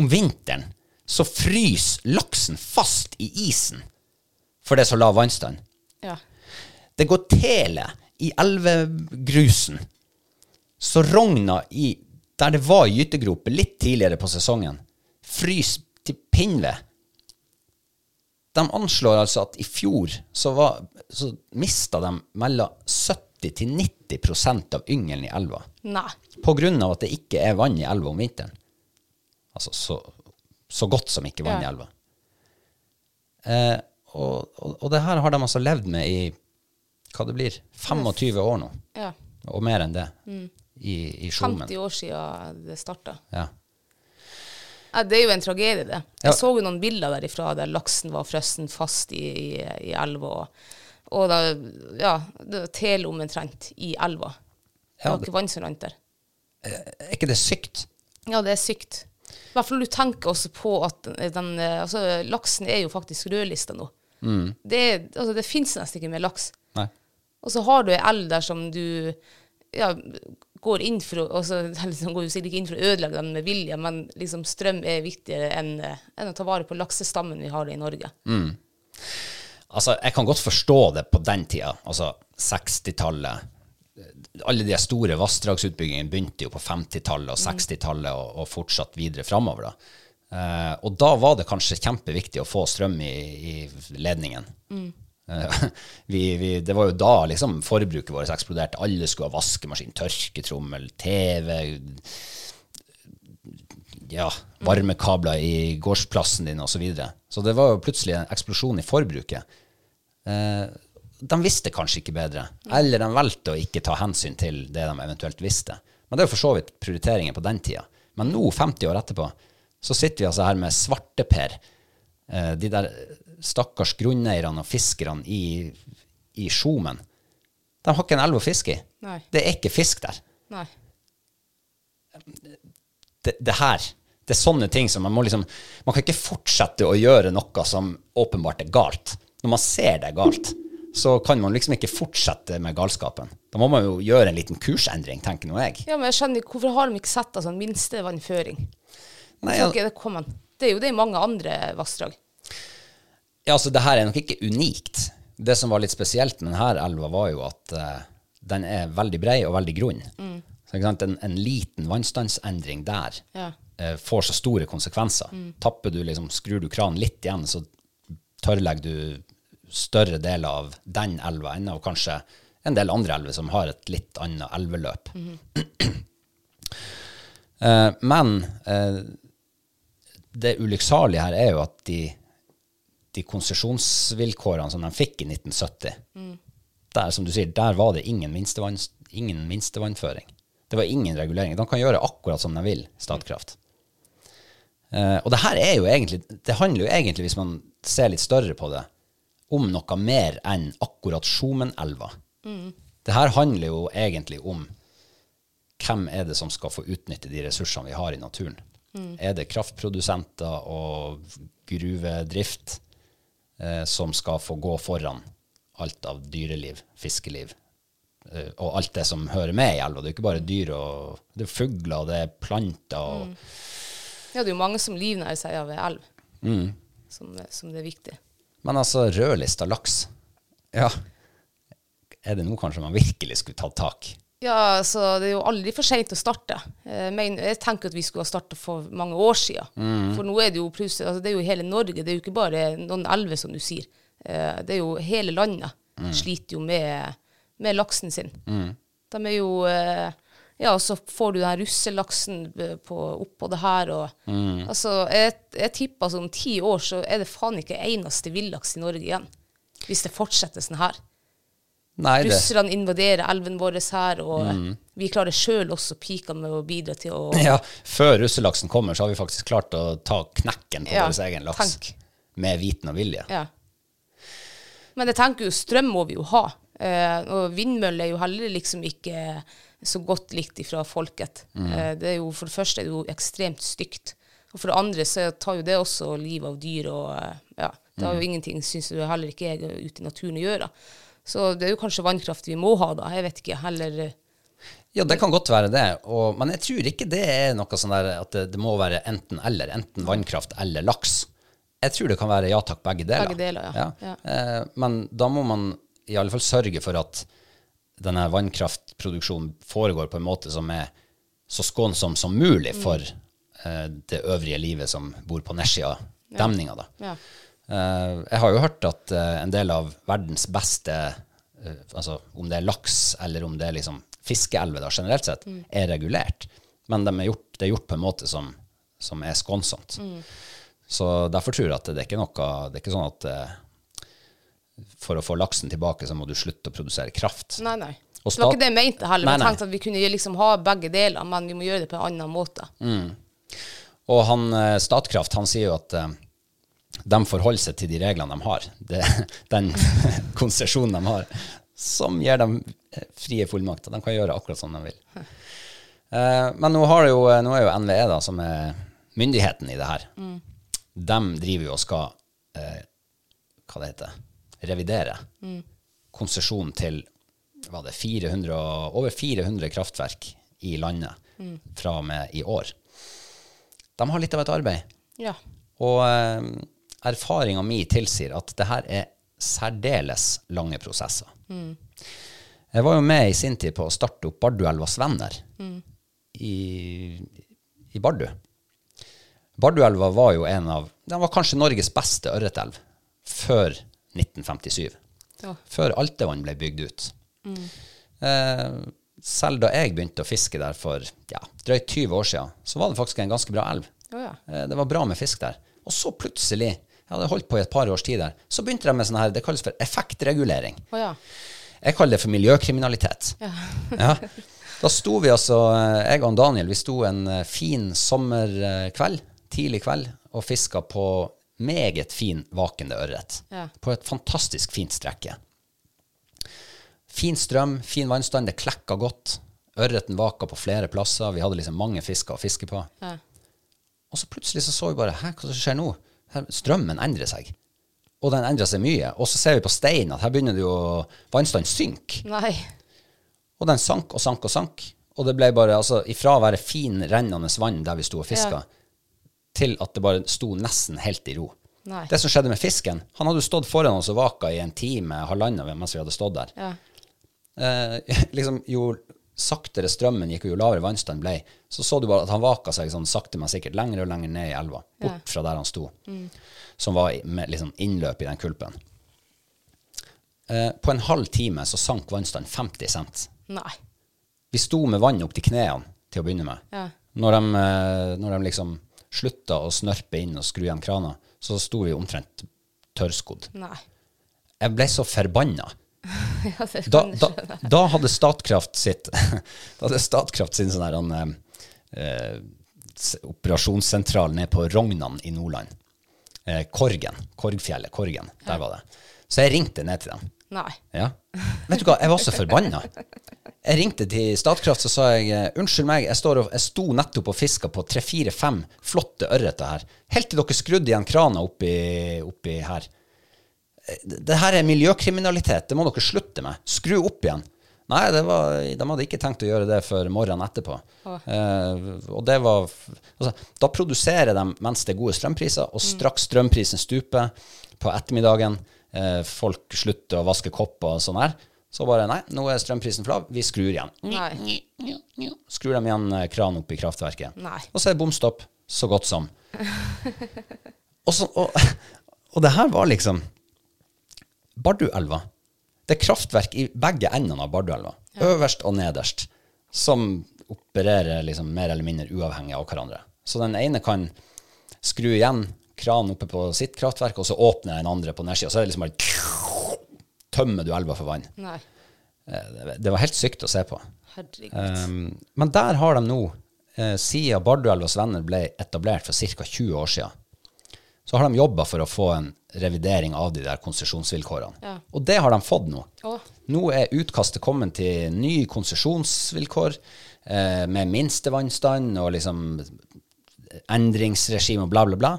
[SPEAKER 2] Om vinteren så fryser laksen fast i isen, for det er så lav vannstand.
[SPEAKER 3] Ja.
[SPEAKER 2] Det går tele i elvegrusen. Så rogna i der det var gytegrope litt tidligere på sesongen, fryser til pinnved. De anslår altså at i fjor så, var, så mista de mellom 70 til 90 av yngelen i elva.
[SPEAKER 3] Nei.
[SPEAKER 2] På grunn av at det ikke er vann i elva om vinteren. Altså så, så godt som ikke vann i
[SPEAKER 3] Ja.
[SPEAKER 2] elva. Eh, og, og, og det her har de altså levd med i hva det blir, 25 år nå,
[SPEAKER 3] Ja.
[SPEAKER 2] og mer enn det, i, i Skjomen.
[SPEAKER 3] 50 år siden det starta.
[SPEAKER 2] Ja.
[SPEAKER 3] Ja, det er jo en tragedie, det.
[SPEAKER 2] Ja.
[SPEAKER 3] Jeg så jo noen bilder derifra der laksen var frossen fast i, i, i elva. Og, og da, ja, det var tele omtrent i elva. Det
[SPEAKER 2] Ja,
[SPEAKER 3] var
[SPEAKER 2] det-
[SPEAKER 3] ikke vann som rant der.
[SPEAKER 2] Er ikke det sykt?
[SPEAKER 3] Ja, det er sykt. I hvert fall når du tenker også på at den, den, eh, altså, laksen er jo faktisk rødlista nå.
[SPEAKER 2] Mm.
[SPEAKER 3] Det, er- altså, det fins nesten ikke mer laks.
[SPEAKER 2] Nei.
[SPEAKER 3] Og så har du ei elv der som du ja, går inn for å altså, eller så går du sikkert ikke inn for å ødelegge den med vilje, men liksom strøm er viktigere enn, eh, enn å ta vare på laksestammen vi har i Norge.
[SPEAKER 2] Altså, jeg kan godt forstå det på den tida, altså 60-tallet. Alle de store vassdragsutbyggingene begynte jo på 50-tallet og 60-tallet og, og fortsatt videre framover. Da. Eh, og da var det kanskje kjempeviktig å få strøm i, i ledningen. Eh, vi, vi, det var jo da liksom forbruket vårt eksploderte. Alle skulle ha vaskemaskin, tørketrommel, TV, ja, varmekabler i gårdsplassen din osv. Så, videre. så det var jo plutselig en eksplosjon i forbruket. Eh, de visste kanskje ikke bedre, eller de valgte å ikke ta hensyn til det de eventuelt visste. Men det er jo for så vidt prioriteringer på den tida. Men nå, 50 år etterpå, så sitter vi altså her med svarteper. Eh, de der stakkars grunneierne og fiskerne i, i Skjomen. De har ikke en elv å fiske i.
[SPEAKER 3] Nei.
[SPEAKER 2] Det er ikke fisk der
[SPEAKER 3] Nei.
[SPEAKER 2] det, det her Det er sånne ting som man må liksom Man kan ikke fortsette å gjøre noe som åpenbart er galt. Når man ser det er galt, så kan man liksom ikke fortsette med galskapen. Da må man jo gjøre en liten kursendring, tenker nå jeg.
[SPEAKER 3] Ja, men jeg skjønner ikke, Hvorfor har de ikke sett altså, en minstevannføring?
[SPEAKER 2] Nei,
[SPEAKER 3] Så
[SPEAKER 2] ja,
[SPEAKER 3] ikke det kom en- Det er jo det i mange andre vassdrag.
[SPEAKER 2] ja, altså, det her er nok ikke unikt. Det som var litt spesielt med denne elva, var jo at eh, den er veldig brei og veldig grunn.
[SPEAKER 3] Mm.
[SPEAKER 2] Så, ikke sant? En, en liten vannstandsendring der
[SPEAKER 3] Ja.
[SPEAKER 2] eh, får så store konsekvenser. Tapper du liksom, skrur du kranen litt igjen, så tørrlegger du større deler av den elva enn av kanskje en del andre elver som har et litt annet elveløp. eh, men eh, det ulykksalige her er jo at de, de konsesjonsvilkårene som de fikk i 1970, der, som du sier, der var det ingen, minstevann, ingen minstevannføring. Det var ingen regulering. De kan gjøre akkurat som de vil, Statkraft. Eh, og det her er jo egentlig Det handler jo egentlig, hvis man ser litt større på det, om noe mer enn akkurat Skjomenelva. Det her handler jo egentlig om hvem er det som skal få utnytte de ressursene vi har i naturen. Er det kraftprodusenter og gruvedrift eh, som skal få gå foran alt av dyreliv, fiskeliv, eh, og alt det som hører med i elva? Det er jo ikke bare dyr, og, det er fugler, og det er planter. og...
[SPEAKER 3] Ja, det er jo mange som livnærer seg av ei elv, Mm. som, som det er viktig.
[SPEAKER 2] Men altså, rødlista laks Ja. Er det nå kanskje man virkelig skulle tatt tak?
[SPEAKER 3] Ja, så det er jo aldri for seint å starte. Jeg, mener, jeg tenker at vi skulle ha starta for mange år siden. For nå er det jo plutselig altså Det er jo hele Norge, det er jo ikke bare noen elver, som du sier. Eh, Det er jo hele landet sliter jo med, med laksen sin. De er jo eh, Ja, og så får du den her russelaksen eh, på, oppå det her og Altså, jeg, jeg tipper altså, om ti år så er det faen ikke eneste villaks i Norge igjen. Hvis det fortsetter sånn her.
[SPEAKER 2] Nei, det Mm.
[SPEAKER 3] Russerne invaderer elven vår her, og vi klarer sjøl også pika med å bidra til å
[SPEAKER 2] ja, Før russelaksen kommer, så har vi faktisk klart å ta knekken på
[SPEAKER 3] Ja,
[SPEAKER 2] vår egen laks.
[SPEAKER 3] tenk.
[SPEAKER 2] Med viten og vilje.
[SPEAKER 3] Ja. Men jeg tenker jo strøm må vi jo ha. Eh, og vindmøller er jo heller liksom ikke så godt likt ifra folket.
[SPEAKER 2] Mm.
[SPEAKER 3] Eh, det er jo, for det første er det jo ekstremt stygt. Og for det andre så tar jo det også livet av dyr og eh, ja, Det
[SPEAKER 2] Mm.
[SPEAKER 3] har jo ingenting, syns jo heller ikke jeg, ute i naturen å gjøre. Så det er jo kanskje vannkraft vi må ha, da. Jeg vet ikke. Heller eh,
[SPEAKER 2] Ja, det kan godt være det, og, men jeg tror ikke det er noe sånn der at det, det må være enten eller. Enten vannkraft eller laks. Jeg tror det kan være ja takk, begge deler.
[SPEAKER 3] Begge deler, ja. Ja.
[SPEAKER 2] Eh, men da må man i alle fall sørge for at denne vannkraftproduksjonen foregår på en måte som er så skånsom som mulig
[SPEAKER 3] Mm.
[SPEAKER 2] for eh, det øvrige livet som bor på nedsida av demninga. Da.
[SPEAKER 3] Ja.
[SPEAKER 2] Eh, jeg har jo hørt at eh, en del av verdens beste, eh, altså om det er laks eller om det er liksom fiskeelver da, generelt sett, er regulert. Men de er gjort, det er gjort på en måte som, som er skånsomt. Så derfor tror jeg at det er ikke noe, det er ikke sånn at eh, for å få laksen tilbake, så må du slutte å produsere kraft.
[SPEAKER 3] Nei, nei.
[SPEAKER 2] Og
[SPEAKER 3] det var
[SPEAKER 2] stat-
[SPEAKER 3] ikke det jeg mente heller.
[SPEAKER 2] Nei,
[SPEAKER 3] Jeg
[SPEAKER 2] nei.
[SPEAKER 3] tenkte at vi kunne liksom ha begge deler, men vi må gjøre det på en annen måte.
[SPEAKER 2] Mm. Og han, eh, Statkraft han sier jo at eh, de forholder seg til de reglene de har, det, den konsesjonen de har, som gir dem eh, frie fullmakter. De kan gjøre akkurat som de vil. Eh, Men nå, har det jo, nå er jo NVE, da, som er myndigheten i det her, de driver jo og skal eh, hva det heter, revidere konsesjon til var det 400, og- over 400 kraftverk i landet fra og med i år. De har litt av et arbeid.
[SPEAKER 3] Ja.
[SPEAKER 2] Og eh, erfaringa mi tilsier at det her er særdeles lange prosesser. Jeg var jo med i sin tid på å starte opp Barduelvas venner i, i Bardu. Barduelva var jo en av Den var kanskje Norges beste ørretelv før 1957.
[SPEAKER 3] Ja.
[SPEAKER 2] Før Altevann ble bygd ut. Eh, selv da jeg begynte å fiske der for ja, drøyt 20 år siden, så var det faktisk en ganske bra elv.
[SPEAKER 3] Å ja.
[SPEAKER 2] Eh, Det var bra med fisk der. Og så plutselig, jeg hadde holdt på i et par års tid der, så begynte de med sånn her, det kalles for effektregulering.
[SPEAKER 3] Å ja.
[SPEAKER 2] Jeg kaller det for miljøkriminalitet. Ja. Da sto vi altså, eh, jeg og Daniel, vi sto en eh, fin sommerkveld, tidlig kveld, og fiska på meget fin vakende ørret.
[SPEAKER 3] Ja.
[SPEAKER 2] På et fantastisk fint strekke. Fin strøm, fin vannstand, det klekka godt. Ørreten vaka på flere plasser, vi hadde liksom mange fisker å fiske på.
[SPEAKER 3] Ja.
[SPEAKER 2] Og så plutselig så, så vi bare Hæ, hva som skjer nå? Her, strømmen endrer seg. Og den endrer seg mye. Og så ser vi på steinen at her begynner det jo å- vannstanden synke.
[SPEAKER 3] Nei.
[SPEAKER 2] Og den sank og sank og sank. Og det ble bare altså, ifra å være fin, rennende vann der vi sto og fiska,
[SPEAKER 3] Ja.
[SPEAKER 2] til at det bare sto nesten helt i ro.
[SPEAKER 3] Nei.
[SPEAKER 2] Det som skjedde med fisken Han hadde jo stått foran oss og vaka i en time, halvannen mens vi hadde stått der.
[SPEAKER 3] Ja.
[SPEAKER 2] Eh, liksom, jo saktere strømmen gikk, og jo lavere vannstand ble, så så du bare at han vaka seg sånn sakte, men sikkert lenger og lenger ned i elva, bort fra der han sto, som var i- med liksom innløp i den kulpen. Eh, på en halv time så sank vannstanden 50 cent.
[SPEAKER 3] Nei.
[SPEAKER 2] Vi sto med vann opp til knærne til å begynne med.
[SPEAKER 3] Ja.
[SPEAKER 2] Når, de, eh, når de liksom slutta å snørpe inn og skru igjen krana, så sto vi omtrent tørrskodd.
[SPEAKER 3] Nei.
[SPEAKER 2] Jeg ble så forbanna
[SPEAKER 3] Ja, det
[SPEAKER 2] da,
[SPEAKER 3] kan jeg
[SPEAKER 2] da,
[SPEAKER 3] skjønne.
[SPEAKER 2] da hadde Statkraft sitt Da hadde Statkraft sin sånn her han, eh, s- operasjonssentral nede på Rognan i Nordland. Eh, Korgen. Korgfjellet. Korgen. Der var det. Så jeg ringte ned til dem.
[SPEAKER 3] Nei.
[SPEAKER 2] Ja. Vet du hva, jeg var så forbanna. Jeg ringte til Statkraft så sa jeg eh, unnskyld meg, jeg, står og, jeg sto nettopp og fiska på tre-fire-fem flotte ørreter her, helt til dere skrudde igjen krana oppi, oppi her. Eh, Det det her er miljøkriminalitet, det må dere slutte med. Skru opp igjen. Nei, det var, de hadde ikke tenkt å gjøre det før morgenen etterpå. Eh, og det var altså, Da produserer de mens det er gode strømpriser, og straks strømprisen stuper på ettermiddagen, eh, folk slutter å vaske kopper og sånn her, så bare Nei, nå er strømprisen for lav, vi skrur igjen.
[SPEAKER 3] Nei.
[SPEAKER 2] Skrur dem igjen eh, kranen opp i kraftverket.
[SPEAKER 3] Nei.
[SPEAKER 2] Og så er det bomstopp så godt som. og, så, og, og det her var liksom Barduelva. Det er kraftverk i begge endene av Barduelva. Øverst og nederst. Som opererer liksom mer eller mindre uavhengig av hverandre. Så den ene kan skru igjen kranen oppe på sitt kraftverk, og så åpner den andre på nedsida. Så er det liksom bare Tømmer du elva for vann.
[SPEAKER 3] Nei.
[SPEAKER 2] Eh, Det var helt sykt å se på.
[SPEAKER 3] Herregud.
[SPEAKER 2] Um, men der har de nå, eh, siden Barduelvas venner ble etablert for ca. 20 år siden, så har de jobba for å få en revidering av de der konsesjonsvilkårene.
[SPEAKER 3] Ja.
[SPEAKER 2] Og det har de fått nå.
[SPEAKER 3] Å.
[SPEAKER 2] Nå er utkastet kommet til ny konsesjonsvilkår eh, med minstevannstand og liksom endringsregime og bla, bla, bla.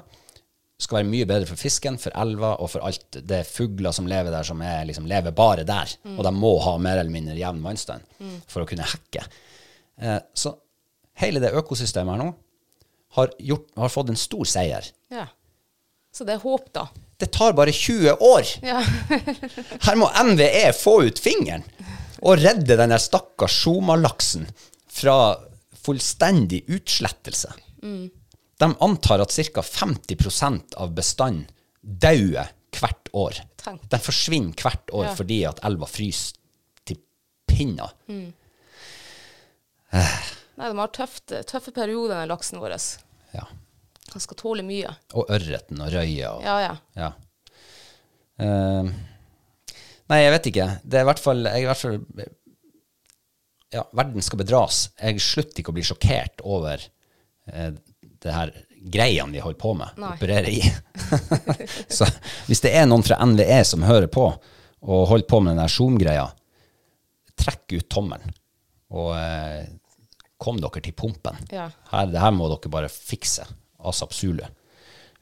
[SPEAKER 2] skal være mye bedre for fisken, for elva og for alt det er fugler som lever der, som er, liksom, lever bare der. Og de må ha mer eller mindre jevn vannstand for å kunne hekke. Eh, så hele det økosystemet her nå har, gjort, har fått en stor seier.
[SPEAKER 3] Ja. Så det er håp, da.
[SPEAKER 2] Det tar bare 20 år!
[SPEAKER 3] Ja.
[SPEAKER 2] Her må NVE få ut fingeren og redde den der stakkars sjomalaksen fra fullstendig utslettelse.
[SPEAKER 3] Mm.
[SPEAKER 2] De antar at ca. 50 av bestanden dauer hvert år.
[SPEAKER 3] Tenk.
[SPEAKER 2] Den forsvinner hvert år
[SPEAKER 3] Ja.
[SPEAKER 2] fordi at elva fryser til pinner.
[SPEAKER 3] Mm. Nei, de har tøft, tøffe perioder, den laksen vår.
[SPEAKER 2] Ja.
[SPEAKER 3] Han skal tåle mye.
[SPEAKER 2] Og ørreten og røya. Og,
[SPEAKER 3] Ja, ja.
[SPEAKER 2] Ja. Eh, nei, jeg vet ikke. Det er i hvert fall, jeg er i hvert fall ja, Verden skal bedras. Jeg slutter ikke å bli sjokkert over eh, det her greiene vi holder på med,
[SPEAKER 3] Nei.
[SPEAKER 2] opererer i. Så hvis det er noen fra NVE som hører på og holder på med den der Zoom-greia, trekk ut tommelen og eh, kom dere til pumpen.
[SPEAKER 3] Ja.
[SPEAKER 2] Her, det her må dere bare fikse. Asap Zulu.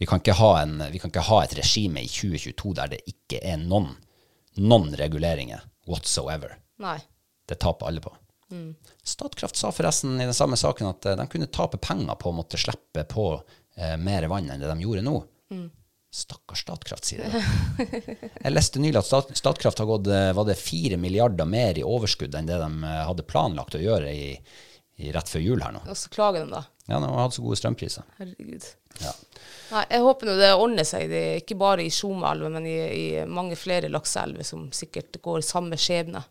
[SPEAKER 2] Vi kan, ikke ha en, vi kan ikke ha et regime i 2022 der det ikke er noen, noen reguleringer whatsoever.
[SPEAKER 3] Nei.
[SPEAKER 2] Det taper alle på. Statkraft sa forresten i den samme saken at eh, de kunne tape penger på å måtte slippe på eh, mer vann enn det de gjorde nå. Stakkars Statkraft, sier det. Jeg leste nylig at stat, Statkraft har gått eh, var det fire milliarder mer i overskudd enn det de eh, hadde planlagt å gjøre i, i rett før jul her nå.
[SPEAKER 3] Og så klager de, da.
[SPEAKER 2] Ja, de har hatt så gode strømpriser.
[SPEAKER 3] Herregud.
[SPEAKER 2] Ja.
[SPEAKER 3] Nei, jeg håper nå det ordner seg, det, er ikke bare i Tjomaelva, men i, i mange flere lakseelver som sikkert går samme skjebne.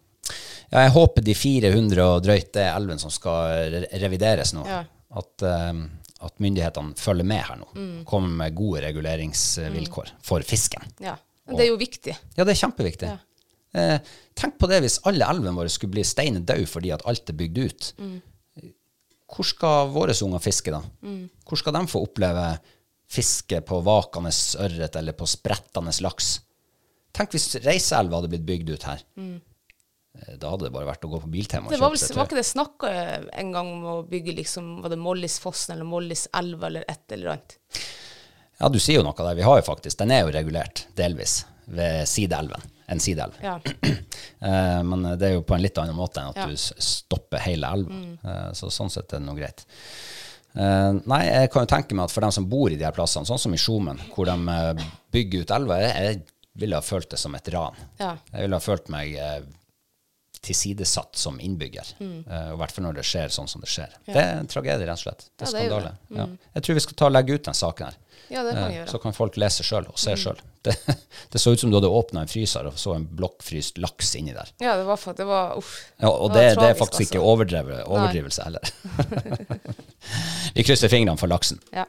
[SPEAKER 2] Ja, jeg håper de 400 og drøyt det er elven som skal re- revideres nå,
[SPEAKER 3] Ja.
[SPEAKER 2] at, ehm, at myndighetene følger med her nå. Kommer med gode reguleringsvilkår for fisken.
[SPEAKER 3] Ja. Men det er jo viktig.
[SPEAKER 2] Ja, det er kjempeviktig. Eh, tenk på det hvis alle elvene våre skulle bli steinen død fordi at alt er bygd ut.
[SPEAKER 3] Mm.
[SPEAKER 2] Hvor skal våre unger fiske, da? Hvor skal de få oppleve fiske på vakende ørret eller på sprettende laks? Tenk hvis Reiseelva hadde blitt bygd ut her. Eh, Da hadde det bare vært å gå på Biltema og
[SPEAKER 3] Mm. Det var,
[SPEAKER 2] kjøpe
[SPEAKER 3] vel,
[SPEAKER 2] seg
[SPEAKER 3] var
[SPEAKER 2] tøy.
[SPEAKER 3] ikke det snakka en gang om å bygge liksom, var det Mollisfossen eller Molliselva eller et eller annet?
[SPEAKER 2] Ja, du sier jo noe der. Vi har jo faktisk Den er jo regulert, delvis, ved sideelven. En sideelv.
[SPEAKER 3] Ja.
[SPEAKER 2] Eh, Men det er jo på en litt annen måte enn at
[SPEAKER 3] Ja. Mm.
[SPEAKER 2] du s- stopper hele elva. Eh, Så sånn sett er det noe greit. Eh, Nei, jeg kan jo tenke meg at for dem som bor i de her plassene, sånn som i Skjomen, hvor de eh, bygger ut elva, jeg- jeg ville ha følt det som et ran.
[SPEAKER 3] Ja.
[SPEAKER 2] Jeg ville ha følt meg eh, tilsidesatt som innbygger.
[SPEAKER 3] Mm.
[SPEAKER 2] Eh, og I hvert fall når det skjer sånn som det skjer. Det er en tragedie, rett og slett. Det er
[SPEAKER 3] Ja, det Mm. er jo
[SPEAKER 2] skandale. Ja. Jeg tror vi skal ta og legge ut den saken her.
[SPEAKER 3] Ja, det kan vi
[SPEAKER 2] Eh,
[SPEAKER 3] gjøre. Mm.
[SPEAKER 2] Så kan folk lese sjøl og se sjøl. Det, det så ut som du hadde åpna en fryser og så en blokkfryst laks inni der.
[SPEAKER 3] Ja, det var faktisk det var, Uff.
[SPEAKER 2] Ja, og
[SPEAKER 3] var
[SPEAKER 2] det, det er
[SPEAKER 3] tragisk,
[SPEAKER 2] faktisk ikke
[SPEAKER 3] altså.
[SPEAKER 2] overdrevet, overdrivelse heller. vi krysser fingrene for laksen.
[SPEAKER 3] Ja.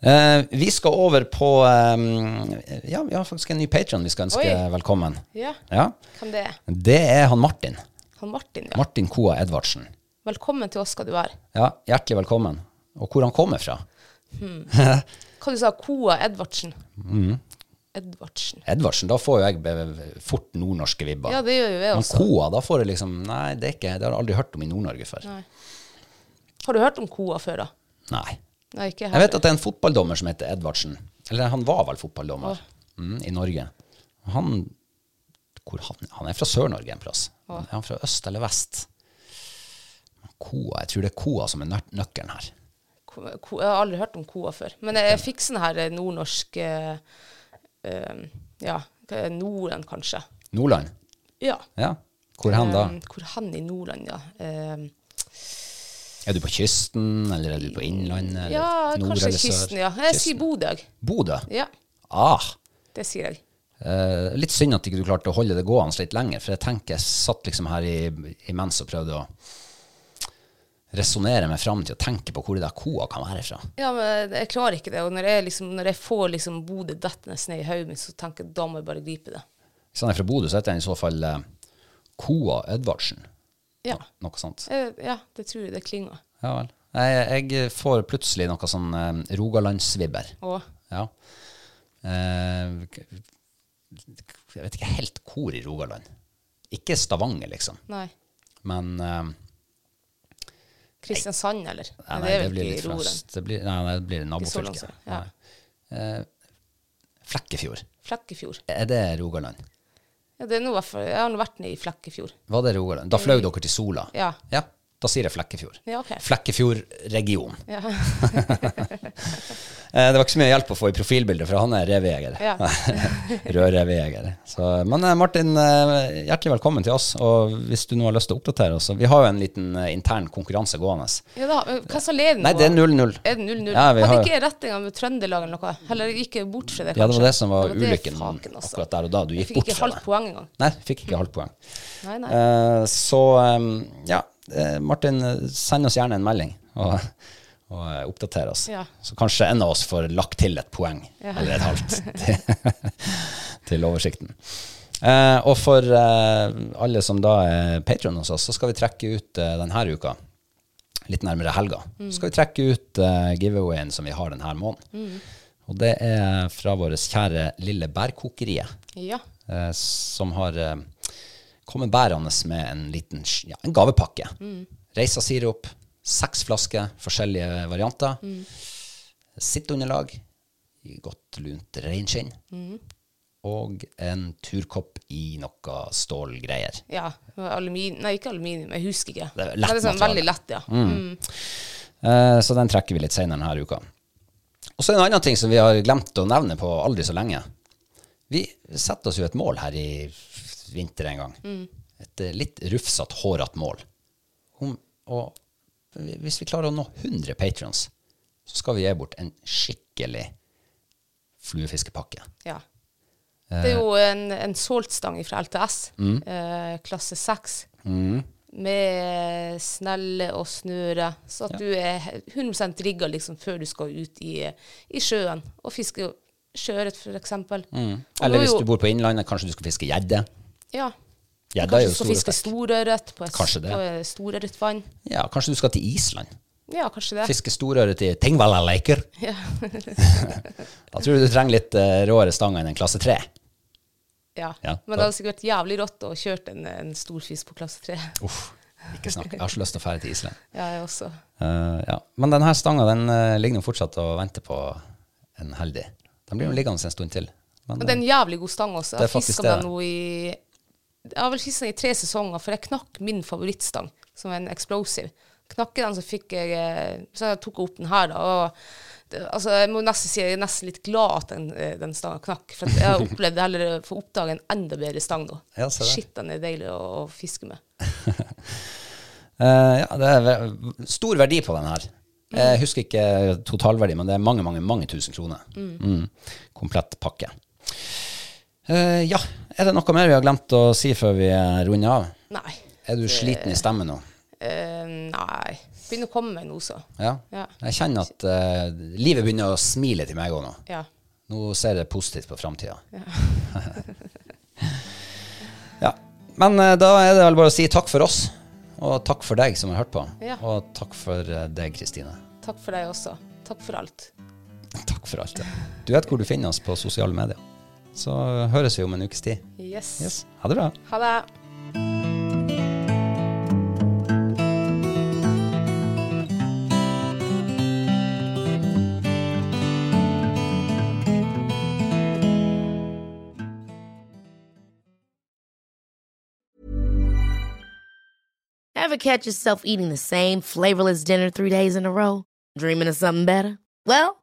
[SPEAKER 2] Eh, vi skal over på eh, Ja, vi har faktisk en ny patron vi skal ønske
[SPEAKER 3] Oi.
[SPEAKER 2] velkommen.
[SPEAKER 3] ja.
[SPEAKER 2] Ja.
[SPEAKER 3] Hvem det er?
[SPEAKER 2] Det er han Martin.
[SPEAKER 3] Han Martin, ja.
[SPEAKER 2] Martin Koa Edvardsen.
[SPEAKER 3] Velkommen til oss skal du være.
[SPEAKER 2] Ja, hjertelig velkommen. Og hvor han kommer fra?
[SPEAKER 3] Hva du sa Koa Edvardsen?
[SPEAKER 2] Mm.
[SPEAKER 3] Edvardsen.
[SPEAKER 2] Edvardsen, da får jo jeg eh, fort nordnorske vibber.
[SPEAKER 3] Ja, altså. det gjør jo jeg
[SPEAKER 2] Men
[SPEAKER 3] også.
[SPEAKER 2] Koa, da får jeg liksom Nei, det er ikke Det har jeg aldri hørt om i Nord-Norge før. Nei.
[SPEAKER 3] Nei. Har du hørt om Koa før, da? Nei, ikke
[SPEAKER 2] Jeg vet at det er en fotballdommer som heter Edvardsen. Eller han var vel fotballdommer mm, i Norge. Han, hvor han, han er fra Sør-Norge en plass. Er han fra øst eller vest? Men Koa, Jeg tror det er Koa som er nøk- nøkkelen her.
[SPEAKER 3] Ko, ko, jeg har aldri hørt om koa før. Men jeg, jeg fikk sånn her eh, nordnorsk eh, eh, Ja, hva er Norden, kanskje.
[SPEAKER 2] Nordland?
[SPEAKER 3] Ja.
[SPEAKER 2] Ja. Hvor hen da?
[SPEAKER 3] Eh, hvor hen i Nordland, ja. Eh,
[SPEAKER 2] Er du på kysten, eller er du på innlandet? eller
[SPEAKER 3] ja,
[SPEAKER 2] nord
[SPEAKER 3] kanskje
[SPEAKER 2] eller sør?
[SPEAKER 3] kysten, ja. Jeg sier Bodø. jeg.
[SPEAKER 2] Bodø?
[SPEAKER 3] Ja,
[SPEAKER 2] Ah,
[SPEAKER 3] det sier jeg.
[SPEAKER 2] Eh, litt synd at ikke du klarte å holde det gående litt lenger, for jeg tenker jeg satt liksom her i, imens og prøvde å resonnere meg fram til å tenke på hvor det der koa kan være fra.
[SPEAKER 3] Ja, men eh, jeg klarer ikke det. Og når jeg, liksom, når jeg får liksom Bodø dettende ned i hodet mitt, så tenker jeg da må jeg bare gripe det.
[SPEAKER 2] Hvis han er fra Bodø, så heter han i så fall eh, Koa Edvardsen.
[SPEAKER 3] Ja.
[SPEAKER 2] Noe sånt.
[SPEAKER 3] Eh, ja, det tror jeg det klinger.
[SPEAKER 2] Ja vel. Nei, jeg får plutselig noe sånn eh, Rogalandsvibber.
[SPEAKER 3] Og
[SPEAKER 2] Ja. Eh, k- jeg vet ikke helt hvor i Rogaland. Ikke Stavanger, liksom.
[SPEAKER 3] nei.
[SPEAKER 2] Men eh,
[SPEAKER 3] Kristiansand, eller?
[SPEAKER 2] Nei,
[SPEAKER 3] Men
[SPEAKER 2] nei, det blir
[SPEAKER 3] i
[SPEAKER 2] litt
[SPEAKER 3] Roren.
[SPEAKER 2] frost. Det blir, nei, nei, det blir
[SPEAKER 3] Ikke så
[SPEAKER 2] nabofylket.
[SPEAKER 3] langt, ja.
[SPEAKER 2] Nei. Eh, Flekkefjord.
[SPEAKER 3] Flekkefjord.
[SPEAKER 2] Er det Rogaland?
[SPEAKER 3] Ja, det er noe, jeg har nå vært nede i Flekkefjord.
[SPEAKER 2] Var det Rogaland? Da fløy dere til Sola?
[SPEAKER 3] Mm. Ja.
[SPEAKER 2] Da sier jeg Flekkefjord.
[SPEAKER 3] Ja, ok.
[SPEAKER 2] Flekkefjordregion.
[SPEAKER 3] Ja.
[SPEAKER 2] Eh, Det var ikke så mye hjelp å få i profilbildet, for han er revejeger.
[SPEAKER 3] Ja.
[SPEAKER 2] Rød revejeger. Så, Men eh, Martin, eh, hjertelig velkommen til oss. Og hvis du nå har lyst til å oppdatere oss så Vi har jo en liten eh, intern konkurranse gående.
[SPEAKER 3] ja da, men hva som leder nå?
[SPEAKER 2] Nei, det er 0-0.
[SPEAKER 3] Er det 0-0?
[SPEAKER 2] Ja, vi
[SPEAKER 3] Hadde
[SPEAKER 2] har-
[SPEAKER 3] ikke jeg rett en gang med Trøndelag eller noe? Heller gikk jeg bort fra det,
[SPEAKER 2] Ja, det var
[SPEAKER 3] kanskje?
[SPEAKER 2] det som var
[SPEAKER 3] Ja, men det er
[SPEAKER 2] ulykken
[SPEAKER 3] faken, altså.
[SPEAKER 2] akkurat der og da. Du
[SPEAKER 3] Jeg
[SPEAKER 2] gikk
[SPEAKER 3] fikk
[SPEAKER 2] bort
[SPEAKER 3] ikke
[SPEAKER 2] fra
[SPEAKER 3] halvt
[SPEAKER 2] det.
[SPEAKER 3] poeng engang.
[SPEAKER 2] Nei, fikk ikke halvt poeng.
[SPEAKER 3] Nei, nei.
[SPEAKER 2] Eh, så eh, ja, eh, Martin, eh, send oss gjerne en melding og, og eh, oppdater oss.
[SPEAKER 3] Ja.
[SPEAKER 2] Så kanskje en av oss får lagt til et poeng, eller et halvt, til, til oversikten. Eh, og for eh, alle som da er patron hos oss, så skal vi trekke ut eh, denne uka, litt nærmere helga,
[SPEAKER 3] Mm.
[SPEAKER 2] så skal vi trekke ut eh, giveawayen som vi har denne måneden.
[SPEAKER 3] Mm.
[SPEAKER 2] Og det er fra vårt kjære lille bærkokeriet
[SPEAKER 3] Ja.
[SPEAKER 2] eh, som har eh, kommet bærende med en liten sk- ja, en gavepakke. Reisa sirup, seks flasker, forskjellige varianter. Sitteunderlag i godt lunt reinskinn. Og en turkopp i noe stålgreier.
[SPEAKER 3] ja. Aluminium Nei, ikke aluminium, jeg husker ikke.
[SPEAKER 2] Det er lett
[SPEAKER 3] Men sånn
[SPEAKER 2] materiale.
[SPEAKER 3] veldig lett, ja. Mm.
[SPEAKER 2] Eh, Så den trekker vi litt senere denne uka. Og så er det en annen ting som vi har glemt å nevne på aldri så lenge. Vi setter oss jo et mål her i vinter en gang.
[SPEAKER 3] Mm.
[SPEAKER 2] Et eh, litt rufsete, hårete mål. Om, og hvis vi klarer å nå 100 patrons, så skal vi gi bort en skikkelig fluefiskepakke.
[SPEAKER 3] ja.
[SPEAKER 2] Eh.
[SPEAKER 3] Det er jo en, en soltstang fra LTS,
[SPEAKER 2] Mm.
[SPEAKER 3] eh, klasse 6, med snelle og snøre, så at du er 100 rigga liksom, før du skal ut i, i sjøen og fiske sjøørret, f.eks. Mm.
[SPEAKER 2] Eller hvis du bor på innlandet, kanskje du skal fiske gjedde.
[SPEAKER 3] Ja.
[SPEAKER 2] Gjedda er
[SPEAKER 3] Kanskje
[SPEAKER 2] jo store
[SPEAKER 3] du skal fiske
[SPEAKER 2] fisk.
[SPEAKER 3] storørret på et,
[SPEAKER 2] Kanskje det.
[SPEAKER 3] på et storørretvann.
[SPEAKER 2] Ja, kanskje du skal til Island.
[SPEAKER 3] Ja, kanskje det.
[SPEAKER 2] Fiske storøret i Tingvallaleiker.
[SPEAKER 3] Ja.
[SPEAKER 2] Da tror du du trenger litt eh, råere stang enn en klasse 3.
[SPEAKER 3] Ja.
[SPEAKER 2] Ja, da-
[SPEAKER 3] Men det hadde sikkert vært jævlig rått å kjøre en, en stor fisk på klasse 3.
[SPEAKER 2] Uff, ikke snakk. Jeg har så lyst til å fære til Island.
[SPEAKER 3] Ja, jeg også.
[SPEAKER 2] Eh, ja. Men denne stanga den, eh, ligger nå fortsatt og venter på en heldig. Den blir jo liggende en stund til. Men,
[SPEAKER 3] Og det er en jævlig god stang også.
[SPEAKER 2] Det er
[SPEAKER 3] Jeg
[SPEAKER 2] faktisk
[SPEAKER 3] fiska
[SPEAKER 2] det.
[SPEAKER 3] den nå i Jeg har vel fiska den i tre sesonger, for jeg knakk min favorittstang, som er en explosive. Knakk jeg den, så fikk jeg eh, Så jeg tok opp den her, da. Og det, altså, jeg må nesten si jeg er nesten litt glad at den, eh, den stanga knakk. For at jeg har opplevd heller å få oppdage en enda bedre stang nå.
[SPEAKER 2] Ja, se der.
[SPEAKER 3] Shit, den er deilig å, å fiske med.
[SPEAKER 2] Eh, ja, det er ve- stor verdi på den her. Jeg husker ikke totalverdi, men det er mange, mange, mange tusen kroner. Mm. Komplett pakke. Eh, ja, er det noe mer vi har glemt å si før vi eh, runder av?
[SPEAKER 3] Nei.
[SPEAKER 2] Er du sliten i stemmen nå?
[SPEAKER 3] Eh, nei. Begynner å komme meg nå, så.
[SPEAKER 2] Ja.
[SPEAKER 3] Ja.
[SPEAKER 2] Jeg kjenner at eh, livet begynner å smile til meg òg nå.
[SPEAKER 3] Ja.
[SPEAKER 2] Nå ser jeg positivt på framtida. Ja. Men eh, da er det vel bare å si takk for oss, og takk for deg som har hørt på.
[SPEAKER 3] Ja.
[SPEAKER 2] Og takk for eh, deg, Kristine.
[SPEAKER 3] Takk for deg også. Takk for alt.
[SPEAKER 2] Takk for alt. Du vet hvor du finner oss på sosiale medier. Så eh, høres vi om en ukes tid.
[SPEAKER 3] Yes.
[SPEAKER 2] Yes. Ha det bra.
[SPEAKER 3] Ha det.
[SPEAKER 4] Ever catch yourself eating the same flavorless dinner three days in a row? Dreaming of something better? Well,